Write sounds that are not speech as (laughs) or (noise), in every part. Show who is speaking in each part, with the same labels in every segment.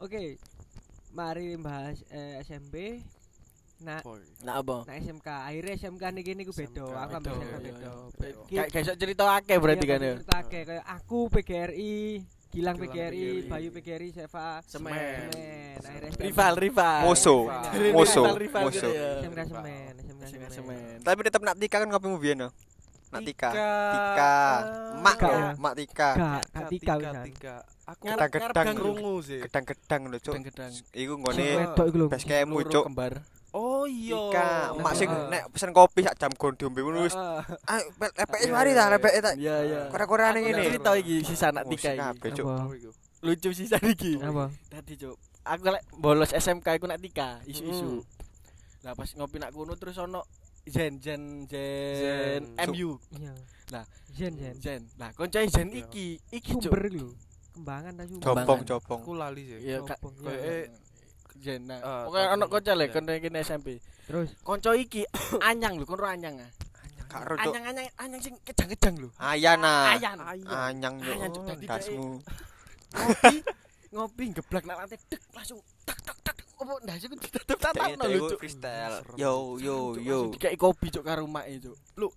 Speaker 1: Oke, mari bahas eh, SMP. Nah,
Speaker 2: Boy.
Speaker 3: Nah apa?
Speaker 1: nah SMK akhirnya SMK nih gini ku beda
Speaker 2: SMK,
Speaker 1: aku ambil
Speaker 2: beda,
Speaker 1: SMK
Speaker 2: iya,
Speaker 1: beda
Speaker 2: iya.
Speaker 1: Be- ki-
Speaker 3: Kayak kayak iso cerita akeh berarti
Speaker 1: iya,
Speaker 3: kan ya.
Speaker 1: ceritake, kayak aku PGRI Gilang
Speaker 2: Gilang
Speaker 1: PGRI
Speaker 2: PGRI,
Speaker 1: Bayu PGRI Seva
Speaker 2: Semen.
Speaker 1: Semen akhirnya SMK
Speaker 3: Rival, rival.
Speaker 4: Moso.
Speaker 3: Rival,
Speaker 4: Moso.
Speaker 3: rival gitu
Speaker 4: Moso.
Speaker 3: ya.
Speaker 1: SMK Semen
Speaker 2: SMK
Speaker 1: SMK Semen
Speaker 2: semen.
Speaker 4: Tapi tetap nak tika kan ngopimu biyen no. Nak tika. Tika.
Speaker 2: Tika.
Speaker 3: Ah.
Speaker 4: Mak
Speaker 1: Tika.
Speaker 4: ya, mak tika.
Speaker 1: Kak
Speaker 2: Tika,
Speaker 1: Katika wisan
Speaker 2: Tika. Aku
Speaker 4: Kita
Speaker 2: ngarep- ngarep
Speaker 4: gedang.
Speaker 2: gang krungu sih.
Speaker 4: Gedang-gedang lho, Cuk.
Speaker 3: Gedang-gedang.
Speaker 4: Iku
Speaker 1: Sing
Speaker 4: ngone
Speaker 2: Cewek.
Speaker 1: wedok iku lho
Speaker 4: base campmu,
Speaker 3: Peluru
Speaker 4: Cuk.
Speaker 3: kembar.
Speaker 2: Oh iya.
Speaker 4: Tika, mak
Speaker 3: Ah.
Speaker 4: sing
Speaker 1: Heeh.
Speaker 4: nek pesen kopi sak jam gon diombe ngono wis.
Speaker 2: Heeh.
Speaker 4: Ah, lepeke
Speaker 2: Iya,
Speaker 4: mari
Speaker 2: iya,
Speaker 4: ta,
Speaker 2: iya.
Speaker 4: lepeke ta.
Speaker 3: Iya, iya.
Speaker 4: Kora-korane
Speaker 2: Aku
Speaker 4: ngene.
Speaker 3: cerita iki sisa anak
Speaker 4: Oh,
Speaker 3: tiga iki.
Speaker 4: kabeh, Cuk.
Speaker 1: apa
Speaker 2: Apa iku?
Speaker 3: Lucu sisa iki.
Speaker 1: apa
Speaker 3: Tadi cuk, aku lek bolos SMK iku nak tiga,
Speaker 2: Hmm.
Speaker 3: isu-isu. Lah pas ngopi nak kono terus ono Zen Zen Zen
Speaker 2: Zen.
Speaker 3: MU
Speaker 1: iya
Speaker 3: Lah.
Speaker 1: jen jen
Speaker 3: Zen. Lah koncoe Zen
Speaker 2: Iya.
Speaker 3: iki, iki cuk.
Speaker 1: sumber iku lho kembangan ta sumber
Speaker 3: Kembangan.
Speaker 4: Jopong-jopong.
Speaker 2: Aku lali sih.
Speaker 3: Ya ka-
Speaker 1: Jopong,
Speaker 2: Kayak
Speaker 1: iya.
Speaker 2: eh,
Speaker 3: Zen. Nah,
Speaker 2: Ah, tak
Speaker 3: Pokoknya ono
Speaker 2: kenal.
Speaker 3: konco lek
Speaker 2: Iya.
Speaker 3: konco kene SMP.
Speaker 1: terus
Speaker 3: Konco iki (coughs) anyang lho, konro anyang. ah.
Speaker 4: Gak ro, Cuk.
Speaker 3: Anyang-anyang anyang sing kejang-kejang lho.
Speaker 4: Ayana.
Speaker 3: Ayan.
Speaker 4: Anyang yo.
Speaker 3: Ayang, iya. Cuk. Dadi
Speaker 4: Dasmu.
Speaker 3: Ngopi ngopi ngeblak nak lantai dek langsung tak tak tak tak. opo ndas iku ditutup tatap
Speaker 4: Dek,
Speaker 3: lho
Speaker 4: iku
Speaker 3: cuk.
Speaker 4: freestyle.
Speaker 2: Serem,
Speaker 4: Yo yo yo.
Speaker 3: Kayak kopi cuk karo mak cuk. Lu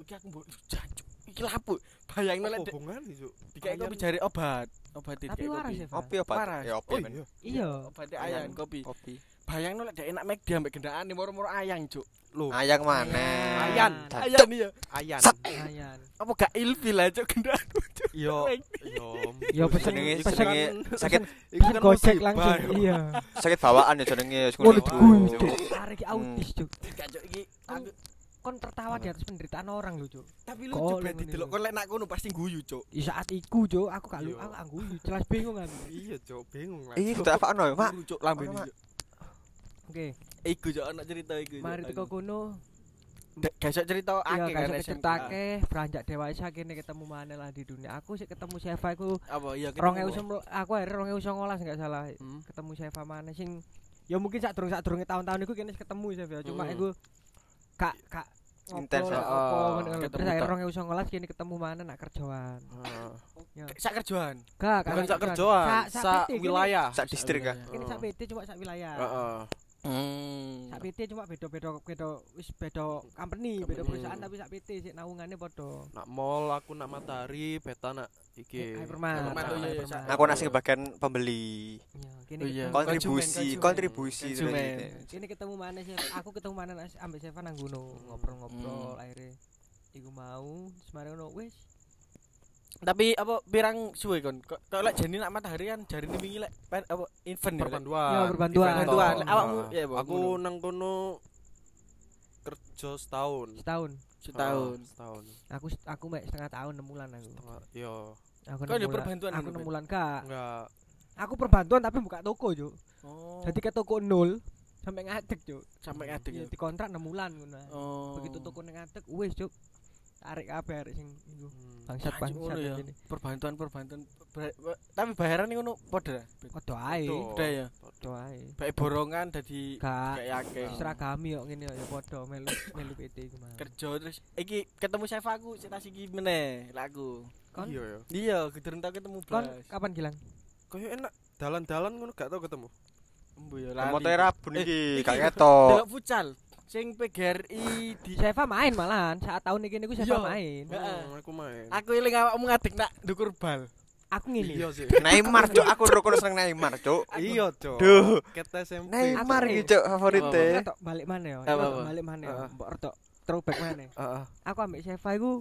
Speaker 3: iki aku mbok jancuk. Iki lapu. Bayangno lek
Speaker 2: hubungan itu.
Speaker 3: dikai kopi jare obat. Obat
Speaker 1: tapi
Speaker 3: dikai
Speaker 1: waras
Speaker 3: kopi.
Speaker 1: ya Pak?
Speaker 4: Kopi apa?
Speaker 3: Waras.
Speaker 4: Ya
Speaker 2: Oh
Speaker 4: opi men.
Speaker 2: iya.
Speaker 1: iya
Speaker 3: Obatnya ayang
Speaker 4: Ayang.
Speaker 3: kopi.
Speaker 4: Kopi.
Speaker 3: Bayangno lek dek enak mek dia ambek gendaan moro-moro ayang cuk. Lho.
Speaker 4: Ayang maneh.
Speaker 3: Ayan,
Speaker 4: Cak.
Speaker 3: ayan iya.
Speaker 2: Ayan.
Speaker 4: Sat.
Speaker 1: ayan
Speaker 3: Apa gak ilfil lah cuk gendaan.
Speaker 1: (laughs)
Speaker 2: Yo.
Speaker 3: Mek.
Speaker 2: Yo.
Speaker 1: Ya, pesen-
Speaker 4: Jenenge
Speaker 1: pesen-
Speaker 4: jenenge sakit
Speaker 1: Kan gojek
Speaker 2: (laughs)
Speaker 1: langsung iya
Speaker 4: sakit bawaan ya jenenge wis
Speaker 1: Waduh,
Speaker 4: iku.
Speaker 1: gundik.
Speaker 3: Hmm.
Speaker 1: Tarik autis, Cuk.
Speaker 3: Gak cuk iki.
Speaker 1: Kon-
Speaker 3: Aku-
Speaker 1: Kon tertawa di atas penderitaan orang lho, Cuk.
Speaker 3: Tapi
Speaker 1: Kok
Speaker 3: lucu
Speaker 1: lu
Speaker 3: berarti
Speaker 1: ngene
Speaker 3: delok
Speaker 1: lho?
Speaker 3: kon lek nak ngono pasti guyu cuk.
Speaker 1: Di saat iku, Cuk, aku gak lu
Speaker 2: Iya.
Speaker 1: aku gak guyu, jelas bingung kan.
Speaker 2: Iya, Cuk, bingung lah.
Speaker 4: Ih, tak apa ya, Mak?
Speaker 3: Guyu cuk lambene
Speaker 4: Ono, Mak.
Speaker 3: cuk.
Speaker 1: Oke,
Speaker 3: Iku cuk ono cerita iku. Cuk.
Speaker 1: mari teko kono.
Speaker 3: Dek, gak iso cerita
Speaker 1: Ya
Speaker 3: akeh kan
Speaker 1: gak
Speaker 3: SMK.
Speaker 1: ceritake, beranjak dewasa kene ketemu mana lah di dunia. Aku sih ketemu Seva iku
Speaker 3: Apa iya ketemu.
Speaker 1: 2019 aku akhirnya 2019 enggak salah.
Speaker 3: Hmm.
Speaker 1: Ketemu Seva mana sing ya mungkin sak durung sak durunge tahun-tahun iku kene ketemu Seva, cuma
Speaker 3: Hmm.
Speaker 1: iku gak gak ngobrol,
Speaker 4: Intens,
Speaker 1: gak
Speaker 3: ah.
Speaker 1: apa, ngono lho.
Speaker 3: Ketemu
Speaker 1: Terus
Speaker 3: tak.
Speaker 1: akhirnya 2019 kene ketemu mana nak kerjaan.
Speaker 3: Sak kerjaan.
Speaker 1: Gak,
Speaker 2: Eh, Bukan
Speaker 1: gak
Speaker 2: sak kerjaan,
Speaker 1: Sak- sak
Speaker 2: sak
Speaker 1: PT, kene.
Speaker 2: wilayah.
Speaker 4: Sak distrik
Speaker 3: ya?
Speaker 4: kan.
Speaker 1: Kene sak PT cuma sak wilayah.
Speaker 2: Heeh.
Speaker 3: Hmm.
Speaker 1: Sak PT cuma beda-beda beda wis beda company, beda perusahaan tapi sak PT sik naungane padha.
Speaker 2: Nak mall aku nak matahari, beta nak iki.
Speaker 1: Hypermart.
Speaker 3: Hypermart, iya, iya,
Speaker 1: Hypermart.
Speaker 3: sak-
Speaker 4: Aku nak sing bagian pembeli,
Speaker 1: Iya, kene.
Speaker 3: Oh, iya.
Speaker 1: ketemu-
Speaker 4: kontribusi,
Speaker 3: Konsumen,
Speaker 4: kontribusi
Speaker 3: konsumen.
Speaker 4: terus
Speaker 3: Konsumen.
Speaker 4: gitu.
Speaker 1: Kene ketemu mana sih? Aku ketemu mana nas- ambek Seva nang gunung ngobrol-ngobrol akhirnya iku mau semare ngono wis
Speaker 3: Tapi apa pirang suwe kon? Kok kok lek jani nak matahari kan jarine wingi lek pen- apa event ya, lek?
Speaker 2: perpanduan.
Speaker 1: Ya, perpanduan.
Speaker 2: Event.
Speaker 3: Perpanduan.
Speaker 2: Heeh.
Speaker 3: Awakmu, iya, Bu,
Speaker 2: aku
Speaker 3: ngono.
Speaker 2: nang kono kerja setahun.
Speaker 1: setahun.
Speaker 3: setahun.
Speaker 2: Heeh, setahun.
Speaker 1: Aku set- aku mek setengah tahun 6 bulan aku.
Speaker 2: Setengah. Yo.
Speaker 1: Aku
Speaker 3: Kau ada
Speaker 1: enam bulan-
Speaker 3: perbantuan
Speaker 1: Aku
Speaker 3: ngono,
Speaker 1: 6 bulan kak.
Speaker 2: Enggak.
Speaker 1: Aku perbantuan tapi buka toko, Cuk.
Speaker 3: Oh.
Speaker 1: Jadi ke toko nol sampai ngadeg, Cuk.
Speaker 3: sampai ngadeg.
Speaker 1: Iya,
Speaker 3: ya?
Speaker 1: dikontrak 6 bulan ngono.
Speaker 3: Oh.
Speaker 1: begitu toko ning ngadeg wis cuk tarik kabeh arek sing iku bangsat
Speaker 3: Ah, cuk,
Speaker 1: bangsat
Speaker 3: ngono ya.
Speaker 1: ini
Speaker 3: perbantuan perbantuan ber- ber- tapi bayaran ngono padha.
Speaker 1: padha ae
Speaker 2: Betul.
Speaker 3: Padha ya.
Speaker 1: padha ae
Speaker 3: Baik borongan dadi
Speaker 1: gak
Speaker 3: kayak akeh.
Speaker 1: seragami kok ngene ya padha melu melu PT iku mah
Speaker 3: kerja terus iki ketemu chef aku sik tas iki meneh lek aku.
Speaker 1: kon
Speaker 2: Iya ya.
Speaker 3: Iya, gedeng tau ketemu
Speaker 1: kon
Speaker 3: blas.
Speaker 1: kapan gilang
Speaker 2: Kayak enak dalan-dalan ngono gak tau ketemu.
Speaker 3: Embo ya lali.
Speaker 4: Motor rabun
Speaker 3: Eh,
Speaker 4: iki,
Speaker 3: iki.
Speaker 4: gak ketok.
Speaker 3: (laughs) Delok futsal sing PGRI di
Speaker 1: Seva main malahan saat tahun iki niku Seva
Speaker 3: Iya.
Speaker 1: main
Speaker 3: Heeh.
Speaker 2: Hmm, aku main.
Speaker 3: Aku eling awakmu ngadeg nak ndukur bal.
Speaker 1: aku ngene
Speaker 2: Iya sih.
Speaker 4: (laughs) Neymar, Cuk, aku rukun seneng Neymar, Cuk.
Speaker 2: Iya, Cuk.
Speaker 4: Duh.
Speaker 2: Ket SMP.
Speaker 4: Neymar
Speaker 1: Aku-
Speaker 4: iki, Cuk, favorite.
Speaker 1: Retok balik mana ya?
Speaker 3: Apa,
Speaker 1: Retok
Speaker 3: apa?
Speaker 1: Balik mana ya?
Speaker 2: Heeh.
Speaker 1: Mbok retok throwback mana? ya?
Speaker 2: Heeh.
Speaker 1: Aku ambek Seva iku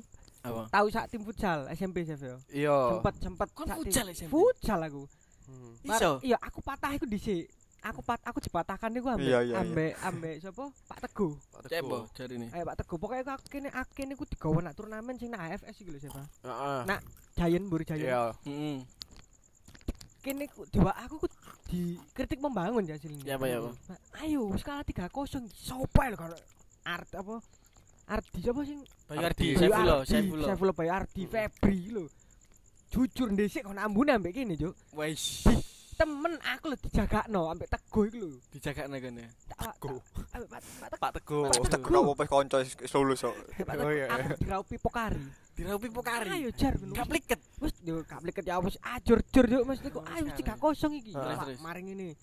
Speaker 3: Apa?
Speaker 1: tahu sak tim futsal SMP Seva ya.
Speaker 2: Iya.
Speaker 1: Sempet sempet
Speaker 3: Oh. Kon
Speaker 1: sak tim.
Speaker 3: futsal SMP?
Speaker 1: Futsal aku.
Speaker 2: Hmm.
Speaker 1: Mar-
Speaker 3: Iso.
Speaker 1: Iya, aku patah iku dhisik. Aku pat aku dipatahkan iku ambek
Speaker 4: Iya, iya, iya.
Speaker 1: ambek ambek sapa? Pak
Speaker 4: (laughs)
Speaker 1: Teguh.
Speaker 2: Pak Teguh.
Speaker 3: Cembo jarine.
Speaker 1: Eh Pak Teguh, pokoknya aku- aku kene aku kene iku digawe nak turnamen sing nak AFS iku lho siapa?
Speaker 2: Heeh.
Speaker 1: Nah, Giant Bur Giant.
Speaker 2: Ah, Iya.
Speaker 3: Heeh.
Speaker 1: Kene ku diwa aku ku dikritik membangun ya hasilnya.
Speaker 3: Ya apa ya apa?
Speaker 1: Nah, Ayo wis kalah 3-0 sopo lho kalau art apa? Ardi sapa sing?
Speaker 3: Bayu Ardi,
Speaker 2: Ardi.
Speaker 3: Saifullah,
Speaker 1: Ardi,
Speaker 3: Saifullah.
Speaker 1: Saifullah Bayu Ardi
Speaker 4: Hmm.
Speaker 1: Febri lho. Jujur ndesik kon ambune ambek kene, Cuk.
Speaker 3: Wes.
Speaker 1: Temen aku lho dijagakno ambek Teguh iku lho.
Speaker 3: Dijagakne kene.
Speaker 1: Tak
Speaker 2: Teguh.
Speaker 1: tak- ambek Pak Pak Teguh.
Speaker 2: Pak Teguh.
Speaker 1: Pak Teguh.
Speaker 4: Kenapa wis kanca wis lulus kok.
Speaker 1: Pak
Speaker 2: Oh,
Speaker 1: Teguh,
Speaker 2: iya,
Speaker 1: aku diraupi pokari.
Speaker 3: Diraupi pokari.
Speaker 1: Ayo jar ngono.
Speaker 3: Gak pliket.
Speaker 1: Wis yo gak pliket ya wis ajur-jur yo mesti kok ayo ah, wis 3-0 iki.
Speaker 3: Terus,
Speaker 1: Pak,
Speaker 3: terus.
Speaker 1: Maring ini.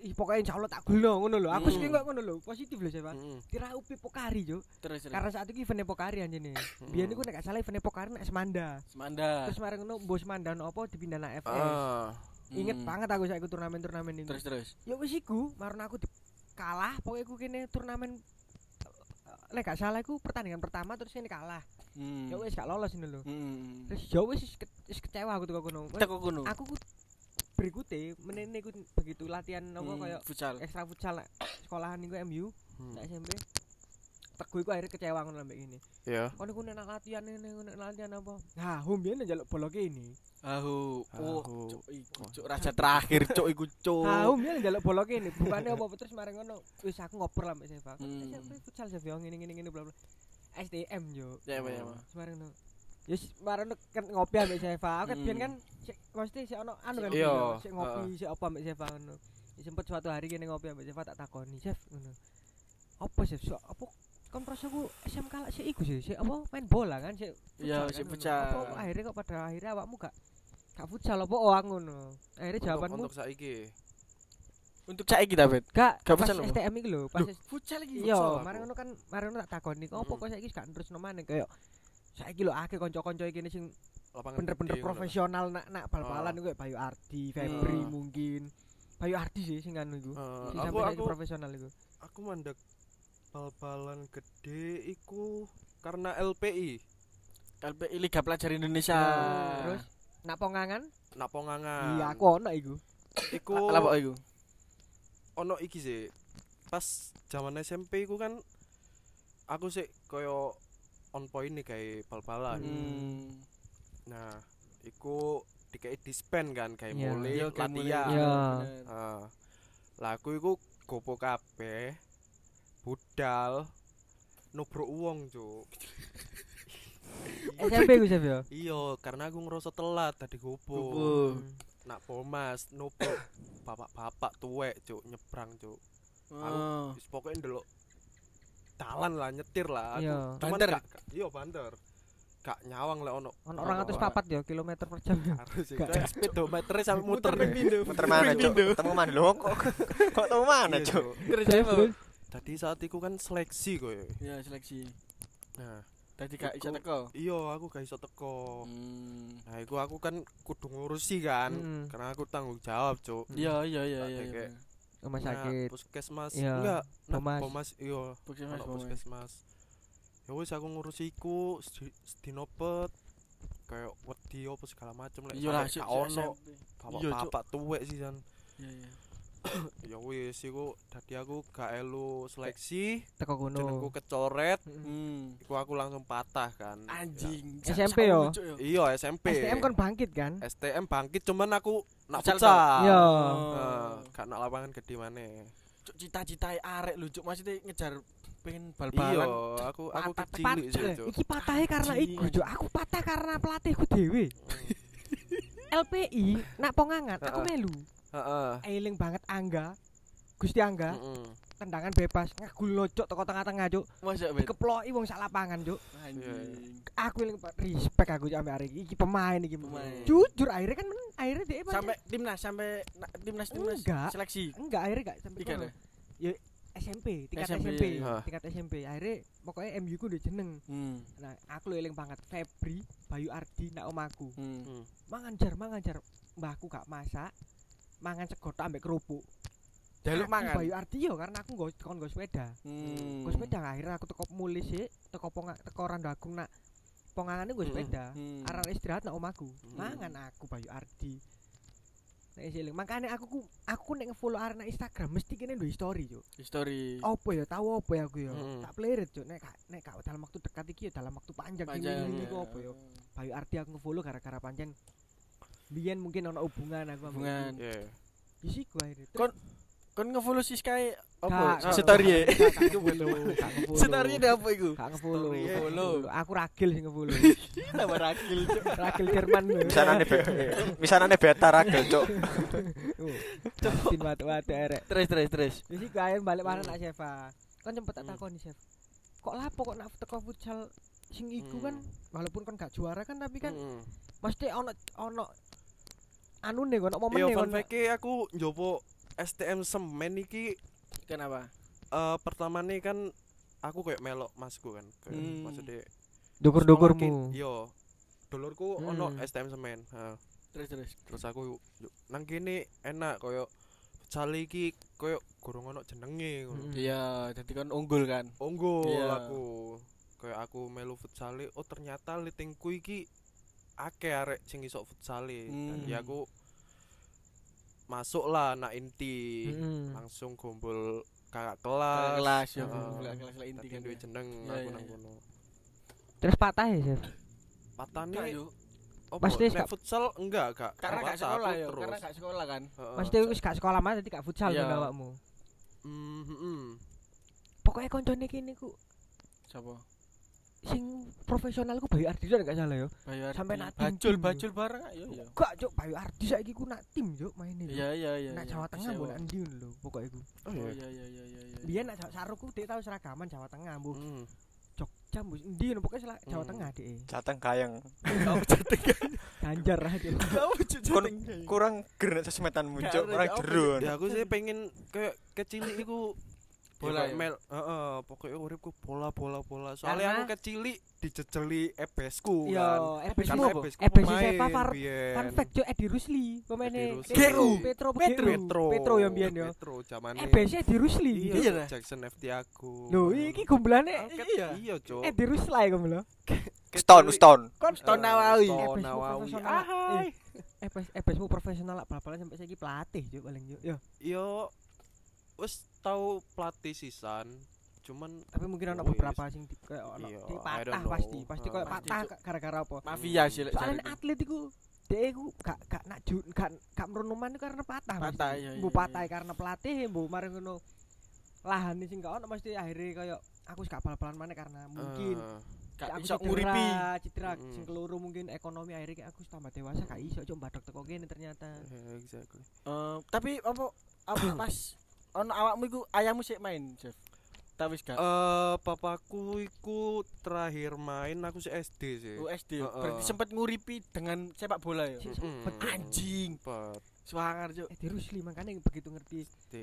Speaker 1: Ih pokoknya insya Allah tak gulno ngono lho. Aku
Speaker 3: Hmm.
Speaker 1: sih kok ngono lho, positif lho Sevan.
Speaker 2: Mm-mm.
Speaker 1: Tiraupi Pokari yo.
Speaker 3: terus Hmm. terus.
Speaker 1: Karena saat itu eventnya Pokari anjene.
Speaker 2: hmm.
Speaker 1: Biyen niku nek gak salah eventnya Pokari nek Semanda.
Speaker 3: Semanda.
Speaker 1: Terus mareng ngono mbok Semanda ono apa dipindah nang FS.
Speaker 2: Ah,
Speaker 1: Ingat
Speaker 3: Oh. Hmm.
Speaker 1: banget aku saiki turnamen-turnamen ini.
Speaker 3: Terus terus.
Speaker 1: Ya wis iku, marun aku di- kalah pokoknya aku kene turnamen eh, nek gak salah iku pertandingan pertama terus ini kalah.
Speaker 3: Hmm.
Speaker 1: Ya wis gak lolos ini lho.
Speaker 3: Hmm.
Speaker 1: Terus ya wis wis ke- wis kecewa aku tuh kono. Wis,
Speaker 3: Teko kono.
Speaker 1: Aku ku berikutnya menene ku begitu latihan apa
Speaker 3: Hmm,
Speaker 1: kaya
Speaker 3: futsal.
Speaker 1: ekstra futsal nak sekolahan niku MU,
Speaker 2: Hmm.
Speaker 1: nak SMP. Teguh iku akhirnya kecewa ngono lambek ini.
Speaker 2: ya.
Speaker 1: Kono ku Oh, nek latihan ini nek latihan apa? Ha, hum biyen njaluk boloke ini.
Speaker 3: Ahu. Oh,
Speaker 2: Ahu.
Speaker 3: cuk, iku cuk raja terakhir cuk iku cuk.
Speaker 1: Ha, hum biyen njaluk boloke ini. Bukannya apa terus mareng ngono. Wis aku ngobrol lambek Seva.
Speaker 3: Hmm.
Speaker 1: SMP futsal Seva ngene ngene ngene bla bla. STM yo.
Speaker 3: Ya apa ya apa.
Speaker 1: Semarang no. Ya yes, kemarin kan ngopi ambek Seva. Aku kan
Speaker 3: Hmm.
Speaker 1: biyen kan sik mesti sik ono anu kan
Speaker 2: Iya,
Speaker 1: gitu, sik ngopi sik apa ambek Seva ngono. Ya sempet suatu hari kene ngopi ambek Seva tak takoni, "Chef, ngono. Apa Chef? So, apa kon proses ku SMK lak sik iku sih, sik apa main bola kan sik
Speaker 3: Iya,
Speaker 1: kan,
Speaker 3: sik
Speaker 1: ngono.
Speaker 3: futsal.
Speaker 1: Apa akhirnya kok pada akhirnya awakmu gak gak futsal apa oh aku ngono. Akhirnya jawabanmu
Speaker 2: Untuk, untuk saiki.
Speaker 3: Untuk saiki David.
Speaker 1: gak
Speaker 3: gak
Speaker 1: pas
Speaker 3: futsal apa?
Speaker 1: STM iki lho, pas
Speaker 3: Futsal Hmm. iki.
Speaker 1: Iya,
Speaker 2: futsal aku.
Speaker 1: mari ngono kan, mari ngono tak takoni, kok opo
Speaker 2: Mm.
Speaker 1: kok saiki gak terus nomane kaya saiki lho akeh kanca-kanca iki sing
Speaker 2: Lapangan
Speaker 1: bener-bener
Speaker 2: gede ngono lho.
Speaker 1: profesional nak nak bal-balan iku kayak Bayu Ardi, Febri
Speaker 2: Oh. Hmm.
Speaker 1: mungkin. Bayu Ardi sih sing anu iku.
Speaker 2: Eh,
Speaker 1: Sing
Speaker 2: aku
Speaker 1: sampai saiki
Speaker 2: aku
Speaker 1: profesional iku.
Speaker 2: aku mandek bal-balan gede iku karena LPI
Speaker 3: LPI Liga Pelajar Indonesia.
Speaker 1: Hmm, Terus nak pongangan?
Speaker 2: napongangan
Speaker 1: Iya, aku ono
Speaker 2: (laughs)
Speaker 1: iku.
Speaker 2: iku
Speaker 3: Lah apa iku?
Speaker 2: ono iki sih pas zaman SMP iku kan aku sih koyo on point nih kayak bal-balan
Speaker 3: Hmm.
Speaker 2: nah iku dikei dispen kan kayak
Speaker 1: Iya.
Speaker 2: mulai
Speaker 3: Iya, kayak mulai.
Speaker 2: latihan
Speaker 1: Iya.
Speaker 3: bener.
Speaker 2: Ah. lah aku iku gopo kabeh budal nubruk uang cuk
Speaker 1: SMP iku Chef ya.
Speaker 2: iya karena aku ngerasa telat tadi gopo
Speaker 3: Kupu.
Speaker 2: nak pomas
Speaker 1: (coughs)
Speaker 2: nubruk bapak-bapak tuwek cuk nyebrang cuk
Speaker 3: Oh.
Speaker 2: Wis pokoknya ndelok dalan lah nyetir lah
Speaker 1: Iya.
Speaker 2: Aku- cuman
Speaker 3: Banter
Speaker 2: gak- gak- iya banter gak nyawang lah ono
Speaker 1: Ono 204 ya kilometer per jam. ya.
Speaker 2: harus sih
Speaker 1: Gak.
Speaker 2: kayak speedometernya sampe muter ya.
Speaker 4: Muter mana, Cuk? Ketemu mana lho kok? Kok ketemu mana,
Speaker 2: Iya,
Speaker 4: Cuk?
Speaker 2: Cuk.
Speaker 3: Terus
Speaker 1: Chef,
Speaker 3: apa?
Speaker 1: terus?
Speaker 2: tadi saat itu kan seleksi koyo
Speaker 3: Ya seleksi.
Speaker 2: nah
Speaker 3: Tadi gak iso
Speaker 2: Iku-
Speaker 3: teko.
Speaker 2: iya aku gak iso teko
Speaker 3: Hmm.
Speaker 2: nah iku aku kan kudu ngurusi kan
Speaker 1: Mm.
Speaker 2: karena aku tanggung jawab cuk
Speaker 3: Iya iya iya
Speaker 2: Tak
Speaker 3: iya.
Speaker 2: kayak-
Speaker 3: iya.
Speaker 1: Rumah
Speaker 2: Nah,
Speaker 1: sakit.
Speaker 2: puskesmas
Speaker 1: Iya.
Speaker 2: enggak nah,
Speaker 1: Pomas.
Speaker 2: pomas iya
Speaker 3: Puskesmas
Speaker 2: ono
Speaker 3: pokoknya.
Speaker 2: puskesmas ya wis aku ngurusi iku sedi- sedino pet kayak wedi apa segala macem lek
Speaker 3: Iya lah
Speaker 2: sampe
Speaker 3: sik-
Speaker 2: gak
Speaker 3: sik-
Speaker 2: ono
Speaker 3: SMP. Iya, Cuk.
Speaker 2: bapak-bapak tuwek sih san
Speaker 3: Iya iya.
Speaker 2: ya wis iku dadi aku gak elu seleksi
Speaker 1: Teko
Speaker 2: jenengku
Speaker 1: kono.
Speaker 2: kecoret
Speaker 1: Mm.
Speaker 3: Hmm.
Speaker 2: iku aku langsung patah kan
Speaker 3: Anjing.
Speaker 1: Ya. SMP yo.
Speaker 2: Ya. iya SMP
Speaker 1: STM kon bangkit kan?
Speaker 2: STM bangkit cuman aku nak
Speaker 3: Futsal,
Speaker 2: futsal
Speaker 1: Iya.
Speaker 3: Oh.
Speaker 2: Heeh, gak nak lapangan gede maneh
Speaker 3: Cuk cita-cita arek lu cuk maksudnya ngejar
Speaker 2: iya
Speaker 3: pengen bal-balan.
Speaker 2: aku aku
Speaker 3: Patah,
Speaker 2: kecilik sih
Speaker 1: Pat-
Speaker 2: Cuk.
Speaker 1: iki patahnya karena
Speaker 3: Anjing.
Speaker 1: iku Cuk. Aku patah karena pelatihku
Speaker 2: (laughs)
Speaker 1: dhewe. LPI nak pongangan aku
Speaker 2: Heeh.
Speaker 1: melu.
Speaker 2: heeh
Speaker 1: Eling banget Angga. Gusti Angga,
Speaker 2: Mm-mm.
Speaker 1: tendangan bebas, ngagul locok teko tengah-tengah, Cuk.
Speaker 3: Masa Iya, bet.
Speaker 1: Dikeploki wong sak lapangan, Cuk.
Speaker 3: Anjing.
Speaker 1: Aku eling banget. respect aku sampe hari iki. Iki pemain iki. men.
Speaker 3: Pemain.
Speaker 1: Jujur akhirnya kan men, akhirnya dia men-
Speaker 3: Sampai timnas sampai na- timnas timnas
Speaker 1: Enggak.
Speaker 3: seleksi.
Speaker 1: enggak akhirnya enggak sampai
Speaker 3: Tiga
Speaker 1: kono.
Speaker 3: deh.
Speaker 1: Ya SMP, tingkat
Speaker 3: SMP,
Speaker 1: SMP,
Speaker 3: iya,
Speaker 2: iya.
Speaker 1: tingkat SMP. Akhirnya pokoknya MU ku udah jeneng.
Speaker 3: Hmm.
Speaker 1: Nah, aku eling banget Febri, Bayu Ardi, nak omaku.
Speaker 3: Hmm.
Speaker 2: Mm.
Speaker 1: mangan jar mangan jar mbahku gak masak mangan sego tok ambek kerupuk
Speaker 3: Jaluk
Speaker 1: Aku
Speaker 3: mangan.
Speaker 1: Bayu Ardi yo karena aku nggo kon nggo sepeda
Speaker 3: Hmm.
Speaker 1: nggo sepeda akhirnya aku teko muli sik teko ponga teko randagung nak pongangane nggo
Speaker 2: Mm-mm.
Speaker 1: sepeda
Speaker 3: Hmm.
Speaker 1: arah istirahat nak omahku
Speaker 2: Mm.
Speaker 1: mangan aku Bayu Ardi Nek siling, makanya aku ku- aku nek ngefollow arek nang Instagram mesti kene duwe story yo.
Speaker 3: History.
Speaker 1: Opo ya tahu opo ya aku yo.
Speaker 3: Hmm.
Speaker 2: Mm.
Speaker 1: Tak pleret yo nek gak- nek gak dalam waktu dekat iki yo dalam waktu panjang, panjang. ini
Speaker 3: ya.
Speaker 1: iku opo yo. Bayu Ardi aku ngefollow gara-gara pancen biyen mungkin ono hubungan aku ambek
Speaker 3: Hubungan.
Speaker 2: Iya.
Speaker 1: iku. di siku akhirnya Terus-
Speaker 3: Kon- Kon ngefollow si Sky
Speaker 1: Gak,
Speaker 3: apa?
Speaker 1: gak,
Speaker 3: Story ya.
Speaker 1: gak, gak
Speaker 3: (laughs)
Speaker 1: ngefollow, gak ngefollow.
Speaker 3: Story dia apa (laughs) iku?
Speaker 1: Gak ngefollow,
Speaker 3: Story-nya.
Speaker 1: gak
Speaker 3: Follow.
Speaker 1: ngefollow. aku ragil sing ngefollow
Speaker 3: Tambah rakil cuk.
Speaker 1: ragil Jerman lho.
Speaker 4: Misanane be
Speaker 1: (laughs)
Speaker 4: misanane beta ragel, Cuk.
Speaker 1: Oh, Martin watu-watu erek
Speaker 3: Terus terus terus.
Speaker 1: di siku Ah.
Speaker 2: Hmm.
Speaker 1: akhirnya balik mana nak Sheva kan sempet tak takoni Chef kok lapo kok nak teko futsal sing iku kan
Speaker 2: Hmm.
Speaker 1: walaupun kon gak juara kan tapi kan
Speaker 2: Mm-mm.
Speaker 1: mesti ono ono anune kono
Speaker 2: Iya,
Speaker 1: momene
Speaker 2: fun
Speaker 1: kono.
Speaker 2: fact-e aku njopo STM semen iki
Speaker 3: Kenapa?
Speaker 2: eh pertama nih kan aku kayak melok masku kan kayak
Speaker 3: Hmm.
Speaker 2: maksudnya
Speaker 1: Dukur-dukurmu.
Speaker 2: yo dulurku ono
Speaker 1: Hmm.
Speaker 2: STM semen ha.
Speaker 3: Terus terus.
Speaker 2: terus aku yuk, yuk, nang kene enak koyo cali iki koyo gorong ono jenenge ngono
Speaker 1: Mm.
Speaker 3: Iya, jadi kan unggul kan.
Speaker 2: Unggul
Speaker 3: Hmm. Iya.
Speaker 2: aku kayak aku melu futsale oh ternyata litingku iki akeh arek sing iso futsale
Speaker 3: Hmm.
Speaker 2: jadi aku masuk lah anak inti
Speaker 3: Hmm.
Speaker 1: Mm-mm.
Speaker 2: langsung kumpul kakak
Speaker 3: Kakak
Speaker 2: kelas
Speaker 3: Kelas ya,
Speaker 2: Heeh.
Speaker 3: kakak kelas lah inti
Speaker 2: tadi
Speaker 3: kan.
Speaker 2: duwe jeneng
Speaker 3: Iya,
Speaker 2: aku
Speaker 3: iya,
Speaker 2: nang
Speaker 3: iya.
Speaker 2: kono
Speaker 1: Terus patah ya, Chef.
Speaker 2: patane
Speaker 3: Enggak, yuk.
Speaker 2: opo
Speaker 1: Pasti
Speaker 2: nek
Speaker 1: gak-
Speaker 2: futsal enggak gak gak
Speaker 3: Karena gak
Speaker 2: patah,
Speaker 3: sekolah
Speaker 2: aku
Speaker 3: ya,
Speaker 2: terus
Speaker 3: karena gak sekolah kan.
Speaker 2: Heeh.
Speaker 1: Mesti wis gak sekolah mas, jadi gak futsal
Speaker 3: Iya.
Speaker 1: kan awakmu.
Speaker 2: Mm, mm, mm.
Speaker 1: Pokoknya koncone kene ku
Speaker 3: Siapa?
Speaker 1: sing profesional ku Bayu Ardi gak salah ya.
Speaker 3: Bayu Ardi.
Speaker 1: Sampai nak Iya.
Speaker 3: bacul
Speaker 1: tim-tim,
Speaker 3: bacul bareng ayo ya.
Speaker 1: Gak, Cuk, Bayu Ardi saiki ku nak tim, Cuk, maine. Cuk.
Speaker 3: Iya iya iya.
Speaker 1: Nak
Speaker 3: iya.
Speaker 1: Jawa Tengah mbok
Speaker 3: Sewa.
Speaker 1: nak ndi lho pokoke iku.
Speaker 2: oh
Speaker 3: Oh
Speaker 2: iya
Speaker 3: iya iya iya iya. iya.
Speaker 1: Biyen nak Jawa Saruku dhek tau seragaman Jawa Tengah mbuh
Speaker 2: Mm.
Speaker 1: Jogja mbuh ndi ngono pokoke sela- Jawa
Speaker 2: Hmm.
Speaker 1: Tengah dhek.
Speaker 4: Jateng kayang.
Speaker 1: Ganjar lah dhek.
Speaker 4: Kon kurang gernek sesmetan muncul,
Speaker 3: Gak ada
Speaker 4: kurang
Speaker 3: apa-apa.
Speaker 4: jerun.
Speaker 2: ya aku sih pengen kayak kecil iku
Speaker 3: (laughs) Bola
Speaker 2: bola
Speaker 3: ya?
Speaker 2: mel heeh pokoknya uripku bola bola bola soalnya
Speaker 1: Karena-
Speaker 2: aku kecil dijejeli ebesku
Speaker 1: Yo,
Speaker 2: kan
Speaker 1: EBS
Speaker 2: kan
Speaker 1: mu apa?
Speaker 2: ebesku
Speaker 1: EBS
Speaker 2: pemain
Speaker 1: Sepa Far
Speaker 2: biyen.
Speaker 1: Fun fact Cuk, Edi Rusli,
Speaker 2: Edi
Speaker 1: pemainnya
Speaker 2: Rusli.
Speaker 1: Petro
Speaker 3: Petro.
Speaker 1: Petro. Petro yang biyen yo.
Speaker 2: Petro zamane
Speaker 1: EBS Eh, Edi Rusli.
Speaker 2: iya
Speaker 3: Iya,
Speaker 2: Cuk,
Speaker 3: dah.
Speaker 2: Jackson Ftiago
Speaker 1: Lho, iki gomblane
Speaker 2: Angkat,
Speaker 3: iya.
Speaker 2: iya cok
Speaker 1: Edi Rusli kamu lho.
Speaker 4: Stone, stone.
Speaker 1: Kon Eh,
Speaker 3: Stone Nawawi.
Speaker 2: Stone
Speaker 1: EBS mu
Speaker 2: Nawawi
Speaker 1: profesional.
Speaker 2: ahai
Speaker 1: EBS EBS mu eh, profesional lah bal-balan sampai saiki pelatih Cuk paling Cuk. Yo,
Speaker 2: yo wis tau pelatih sisan cuman
Speaker 1: tapi mungkin ana
Speaker 2: Oh, iya
Speaker 1: beberapa sing di kayak ono
Speaker 2: Iya,
Speaker 1: di
Speaker 2: I
Speaker 1: patah
Speaker 2: don't know.
Speaker 1: pasti, pasti
Speaker 2: Ah.
Speaker 1: koyo
Speaker 3: Pasti,
Speaker 1: patah
Speaker 3: Cuk.
Speaker 1: gara-gara apa?
Speaker 3: Mafia sih lek
Speaker 1: Soalnya
Speaker 3: jariku.
Speaker 1: atlet iku dhek iku gak gak nak ju gak gak merenungkan itu karena patah. Mas.
Speaker 3: Patah, iya,
Speaker 1: Mbok
Speaker 3: iya,
Speaker 1: patah
Speaker 3: iya.
Speaker 1: karena pelatih, mbok mari ngono. Lahane sing gak ono mesti akhirnya koyo aku gak bal-balan maneh karena mungkin
Speaker 2: Eh,
Speaker 3: Gak
Speaker 1: aku
Speaker 3: bisa nguripi.
Speaker 1: cedera
Speaker 2: Mm-mm.
Speaker 1: sing keloro mungkin ekonomi akhirnya kayak aku tambah dewasa gak iso cuma badok teko kene ternyata
Speaker 2: eh, exactly
Speaker 3: Eh, tapi apa
Speaker 1: (coughs)
Speaker 3: apa pas ono awakmu iku ayammu sik main, Jeff. Tapi wis gak.
Speaker 2: Eh, papaku iku terakhir main aku sih SD sih. Heeh.
Speaker 3: USD. Oh, Berarti sempat nguripi dengan sepak bola ya.
Speaker 1: Si-
Speaker 2: Mm-mm.
Speaker 1: sempet
Speaker 3: Anjing,
Speaker 2: Empat
Speaker 3: swangar cuk.
Speaker 1: eh di Rusli makanya begitu ngerti
Speaker 2: D.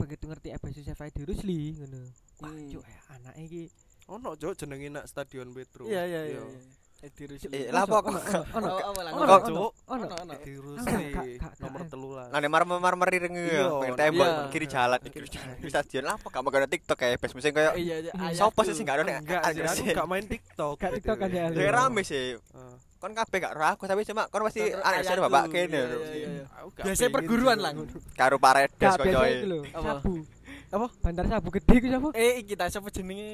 Speaker 1: begitu ngerti apa sih saya di Rusli ngono wah
Speaker 3: Hmm.
Speaker 1: cuk eh, anak iki
Speaker 2: Ono cok jenenge nak Stadion Petro.
Speaker 3: Iya iya iya. iya. Edi Rusli.
Speaker 4: Eh, lah apa aku?
Speaker 1: (laughs) ono
Speaker 3: Apa- apa lah,
Speaker 1: ono
Speaker 3: apa?
Speaker 2: Kak, Cuk.
Speaker 1: ono
Speaker 3: Ono, ono.
Speaker 2: Di
Speaker 1: Enggak,
Speaker 2: Rusi
Speaker 1: Kak, Kak,
Speaker 2: nomor
Speaker 1: Kak.
Speaker 2: telu lah.
Speaker 4: Nah, marmer-marmer ireng
Speaker 2: Iya,
Speaker 4: ya, pengen
Speaker 2: iya.
Speaker 4: tembok kiri jalan, eh, kiri jalan, kiri stadion lah. Apa gak mau TikTok kayak best musim kayak
Speaker 3: Iya iya. ayam
Speaker 4: Eh, Sopo sih
Speaker 3: tuh.
Speaker 4: sih gak ada nek
Speaker 2: Enggak sih, aku
Speaker 4: sih.
Speaker 2: gak main TikTok.
Speaker 1: Gak TikTok
Speaker 2: BTW.
Speaker 1: aja,
Speaker 4: Ya rame sih.
Speaker 2: Eh,
Speaker 4: Kon kabeh gak roh aku tapi cuma kon pasti
Speaker 3: Tonton
Speaker 4: anak
Speaker 3: ayam
Speaker 4: saya bapak
Speaker 3: tuh.
Speaker 4: kene
Speaker 3: Iya,
Speaker 4: lho.
Speaker 3: iya, iya.
Speaker 2: aku gak
Speaker 3: Biasanya
Speaker 2: pengen,
Speaker 3: perguruan
Speaker 2: Cuk.
Speaker 3: lah ngono.
Speaker 4: Karo paredes
Speaker 1: gak biasa iki
Speaker 4: koyo
Speaker 1: lho
Speaker 3: Apa?
Speaker 1: sabu
Speaker 3: Apa?
Speaker 1: bandar sabu gede iku sapa
Speaker 3: Eh, kita siapa jenenge?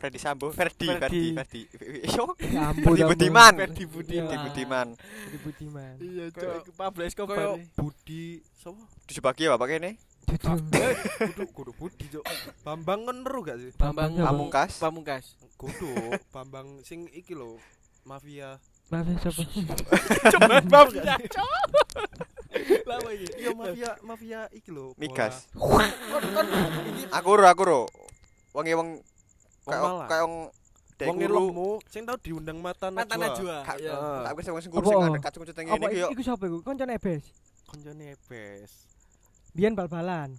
Speaker 4: Freddy Sambo, Ferdi,
Speaker 3: Ferdi.
Speaker 4: Ferdi, Ferdi. Yo,
Speaker 1: ya ampun ampun. Iya,
Speaker 4: Ferdi Budiman.
Speaker 1: Ferdi
Speaker 4: Ferdi
Speaker 1: Budiman
Speaker 4: Budiman.
Speaker 1: Ferdi Budiman
Speaker 3: Iya,
Speaker 2: Kayak-
Speaker 3: cuk. Pablo
Speaker 2: Kayak
Speaker 3: Escobar.
Speaker 2: Budi sapa?
Speaker 4: Di sebagi bapak kene.
Speaker 1: Jujur.
Speaker 2: Kudu kudu Budi cok. Bambang kan ero gak sih?
Speaker 1: Bambang Bambang.
Speaker 4: Pamungkas.
Speaker 3: Pamungkas.
Speaker 2: Kudu Bambang sing iki lho mafia.
Speaker 1: maaf ya sapa
Speaker 3: Cepat mafia, cuk. Lama iki.
Speaker 2: Iya mafia mafia iki lho. bola.
Speaker 4: Migas.
Speaker 3: Kon kon iki
Speaker 4: Aku ro, aku ro. Wonge wong
Speaker 2: Wong
Speaker 4: kayak
Speaker 2: Malang.
Speaker 4: kayak wong dek
Speaker 2: Wong
Speaker 4: guru.
Speaker 2: ilmu sing tau diundang mata
Speaker 3: Mata Najwa.
Speaker 4: Kak-
Speaker 3: Iya.
Speaker 4: eh,
Speaker 2: Heeh.
Speaker 4: Aku sing wong sing
Speaker 1: Apa?
Speaker 4: guru sing ada kacung cuteng
Speaker 1: apa
Speaker 4: ngene iki yo.
Speaker 1: iku sapa iku koncone EBS
Speaker 2: Konjone bes.
Speaker 1: biyen bal-balan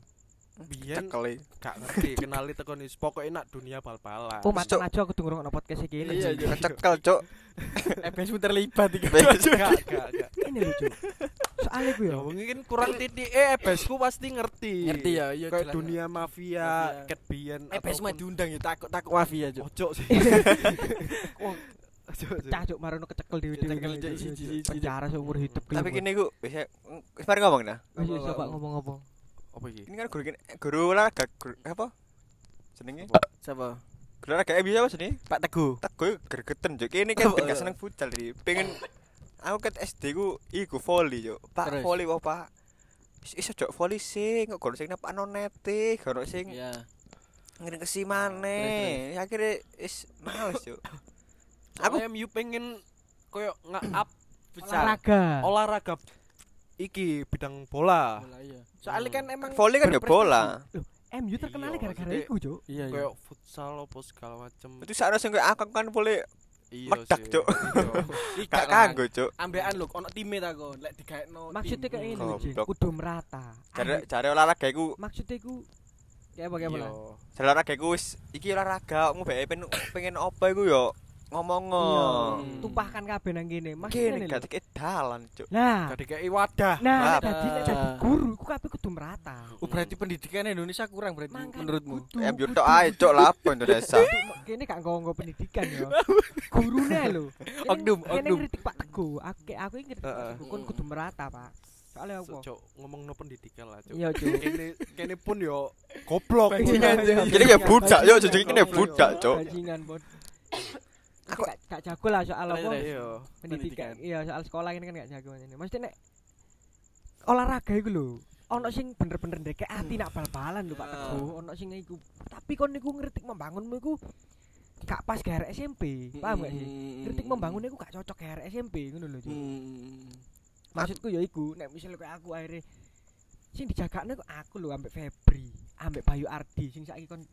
Speaker 4: Hmm.
Speaker 2: Biyen
Speaker 4: Cekeli.
Speaker 2: gak ngerti kenali tekan is pokoke nak dunia bal-balan.
Speaker 1: oh mata
Speaker 4: Cuk.
Speaker 1: aja aku dengerin podcast iki
Speaker 3: Iya,
Speaker 1: ini
Speaker 3: iya.
Speaker 4: Kecekel, Cuk.
Speaker 3: EBS Eh, terlibat iki. (laughs)
Speaker 2: gak gak gak.
Speaker 1: ini lucu soalnya gue
Speaker 2: Ya
Speaker 1: ya
Speaker 2: mungkin kurang titik eh ebesku pasti ngerti.
Speaker 3: Ngerti ya, iya
Speaker 2: Kayak
Speaker 3: jelas.
Speaker 2: dunia mafia,
Speaker 3: Mafia.
Speaker 2: ket biyen
Speaker 3: EBS
Speaker 2: ataupun-
Speaker 3: mah Eh, diundang ya takut-takut mafia, cuk.
Speaker 2: Ojo sih. Wong ojo sih.
Speaker 1: cah cuk marono kecekel di di
Speaker 3: Kecekel, Cuk, siji, siji, Cuk.
Speaker 1: penjara seumur hidup
Speaker 4: Tapi kene iku wis wis mari ngomong nah.
Speaker 1: wis
Speaker 3: Apa,
Speaker 1: wis,
Speaker 3: apa,
Speaker 1: coba
Speaker 3: apa.
Speaker 1: Oh, ngomong apa
Speaker 2: Apa iki?
Speaker 4: Ini kan guru kene guru olahraga guru apa? Jenenge
Speaker 3: Siapa?
Speaker 4: guru olahraga eh, bisa apa jenenge?
Speaker 3: Pak Teguh.
Speaker 4: Teguh gergeten Cuk. Kene kan
Speaker 3: Apa,
Speaker 4: gak
Speaker 3: apa?
Speaker 4: seneng futsal iki. Pengen aku ket SD ku iku voli Cuk. Pak
Speaker 3: Terus?
Speaker 4: voli apa Pak? Is- Iso Cuk voli sing kok guru sing napakno nete, guru e, sing
Speaker 3: Iya.
Speaker 4: ngiring kesi maneh. Ya, Akhirnya is males Cuk.
Speaker 2: Aku
Speaker 4: Aku-
Speaker 2: MU pengen koyo nge-up
Speaker 3: Futsal.
Speaker 1: olahraga
Speaker 2: olahraga iki bidang bola.
Speaker 3: Bola, iya. Ah. Soalnya kan emang
Speaker 4: Voli kan ya
Speaker 3: berprestasi.
Speaker 4: bola.
Speaker 1: MU terkenal
Speaker 2: Iya,
Speaker 1: gara-gara
Speaker 2: maksudnya-
Speaker 1: iku, Cuk.
Speaker 3: iya iya
Speaker 2: Kayak futsal apa segala macem
Speaker 4: Itu seharusnya kayak aku kan boleh
Speaker 2: Iya
Speaker 4: Medak,
Speaker 2: sih,
Speaker 4: Cuk.
Speaker 2: iya.
Speaker 4: gak kanggo, (clears throat) Cuk.
Speaker 3: ambekan lho ono time ta kon lek digaekno tim.
Speaker 1: Maksudnya kayak ini,
Speaker 4: Goblok.
Speaker 1: Cuk. Kudu merata.
Speaker 4: Cara
Speaker 1: Ayo,
Speaker 4: cara olahraga iku,
Speaker 1: Maksudnya iku kayak apa kayak apa?
Speaker 2: Iya.
Speaker 1: lah?
Speaker 4: cara olahraga iku wis iki olahraga mu bae pengen pengen apa iku yo ngomong
Speaker 1: Iya.
Speaker 3: Hmm.
Speaker 1: Tumpahkan kabeh nang kene. Maksudnya
Speaker 4: Makin
Speaker 1: ini
Speaker 4: Oh. gak
Speaker 1: lho.
Speaker 4: dikit dalan, Cuk.
Speaker 1: Nah,
Speaker 2: Jadi kayak wadah
Speaker 1: nah
Speaker 4: Merata.
Speaker 1: tadi nek dadi guru iku kabeh kudu merata.
Speaker 3: Oh, berarti pendidikan Indonesia kurang berarti
Speaker 1: Mangkat
Speaker 3: menurutmu
Speaker 1: kudu,
Speaker 4: MU
Speaker 1: kudu,
Speaker 4: Eh, tok ae,
Speaker 1: kudu.
Speaker 4: Cuk, lapo Indonesia.
Speaker 1: Kudu, Kene gak ngomong pendidikan
Speaker 4: (laughs)
Speaker 1: ya. Gurune lho. Kene-
Speaker 3: Oknum,
Speaker 1: Kene
Speaker 3: oknum.
Speaker 1: kritik Pak Teguh. Aku kayak aku yang kritik Pak
Speaker 2: Heeh.
Speaker 1: Teguh kon kudu merata, Pak. Soale apa?
Speaker 2: Cuk, ngomong no pendidikan lah Cuk.
Speaker 1: Iya, Cuk.
Speaker 2: Kene kene pun yo goblok.
Speaker 4: Jadi kayak budak yo, jadi kene budak, Cuk.
Speaker 1: Iya, Bajingan, Bon. Aku gak gak jago lah soal apa
Speaker 3: Terus, terus.
Speaker 2: Iya.
Speaker 1: pendidikan. Iya, soal sekolah ini kan gak jago ini. Maksudnya nek olahraga iku lho. Ono sing bener-bener ndekek ati nak bal-balan lho Pak
Speaker 3: Ah.
Speaker 1: Teguh. Ono sing iku. Tapi kon niku ngritik membangunmu iku gak pas gara SMP. Paham gak sih?
Speaker 3: Hmm.
Speaker 1: Kritik membangun iku gak cocok gara SMP ngono lho. Cuk.
Speaker 3: Mm. Hmm.
Speaker 1: Maksudku ya iku nek misal kayak aku akhirnya sing dijagakne kok aku lho ambek Febri, ambek Bayu Ardi sing saiki kon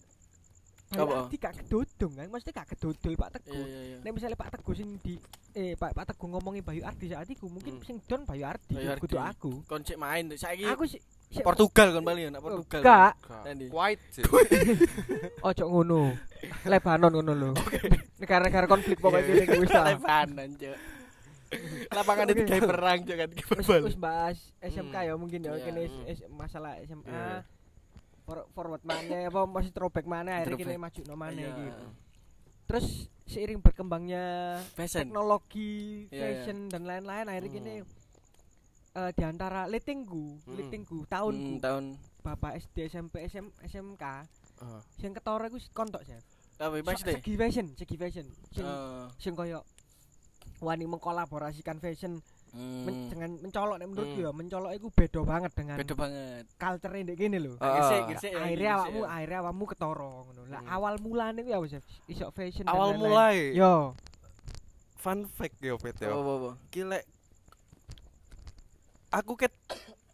Speaker 1: Bayu
Speaker 3: Apa?
Speaker 1: Ardi gak kedodong kan, maksudnya gak kedodol Pak
Speaker 3: iya
Speaker 1: Teguh.
Speaker 3: iya iya
Speaker 1: Nek misalnya Pak Teguh sing di eh Pak Pak Teguh ngomongi Bayu Ardi saat iku mungkin
Speaker 3: Hmm.
Speaker 1: sing don Bayu Ardi
Speaker 3: Bayu
Speaker 1: kudu
Speaker 3: Ardi.
Speaker 1: aku.
Speaker 3: kon cek main tuh saiki
Speaker 1: Aku sih sih-
Speaker 3: Portugal kon paling ya, nak Portugal Ah.
Speaker 1: Gak,
Speaker 2: eh.
Speaker 3: Tadi.
Speaker 2: White sih.
Speaker 1: (laughs) ojo ngono. Lebanon ngono lho. Negara-negara konflik pokoknya iki wis lah.
Speaker 3: Lebanon cuk
Speaker 1: (laughs)
Speaker 3: lapangan itu
Speaker 1: Oke.
Speaker 3: kayak perang cuk kan
Speaker 1: Wis
Speaker 3: bal
Speaker 1: wis bahas SMK ya mungkin ya
Speaker 3: Iya,
Speaker 1: kene is-
Speaker 3: hmm.
Speaker 1: is- masalah SMA.
Speaker 2: Iya.
Speaker 1: For, forward mana apa masih throwback mana akhirnya kene
Speaker 3: Throwback.
Speaker 1: maju no mana
Speaker 3: Iya.
Speaker 1: gitu. Terus seiring berkembangnya
Speaker 3: fashion
Speaker 1: teknologi,
Speaker 3: Iya, iya.
Speaker 1: fashion dan lain-lain akhirnya
Speaker 3: Hmm.
Speaker 1: kene eh, di antara letingku,
Speaker 2: Hmm.
Speaker 1: letingku
Speaker 3: Hmm,
Speaker 1: tahunku,
Speaker 3: tahun
Speaker 1: bapak SD, SMP, SM, SMK, sing ketara iku kontok ya.
Speaker 3: apa maksudnya
Speaker 1: Segi fashion, segi fashion. Sing
Speaker 3: Eh,
Speaker 1: sing koyo wani mengkolaborasikan fashion
Speaker 3: hmm,
Speaker 1: men- dengan mencolok nek menurutku
Speaker 2: Hmm.
Speaker 1: ya, mencolok iku beda banget dengan
Speaker 3: beda banget
Speaker 1: culture ndek kene lho.
Speaker 2: Ah.
Speaker 3: Gresik, gresik ya,
Speaker 1: Akhirnya
Speaker 3: gresik
Speaker 1: awakmu,
Speaker 3: ya.
Speaker 1: akhirnya awakmu ketara ngono. Lah
Speaker 2: Hmm.
Speaker 1: awal mulane ku ya wis iso fashion dan
Speaker 2: Awal
Speaker 1: lain-lain.
Speaker 2: mulai
Speaker 1: Yo,
Speaker 2: fun fact yo Pet
Speaker 3: Apa,
Speaker 2: yo.
Speaker 3: apa, apa?
Speaker 2: Kilek aku ket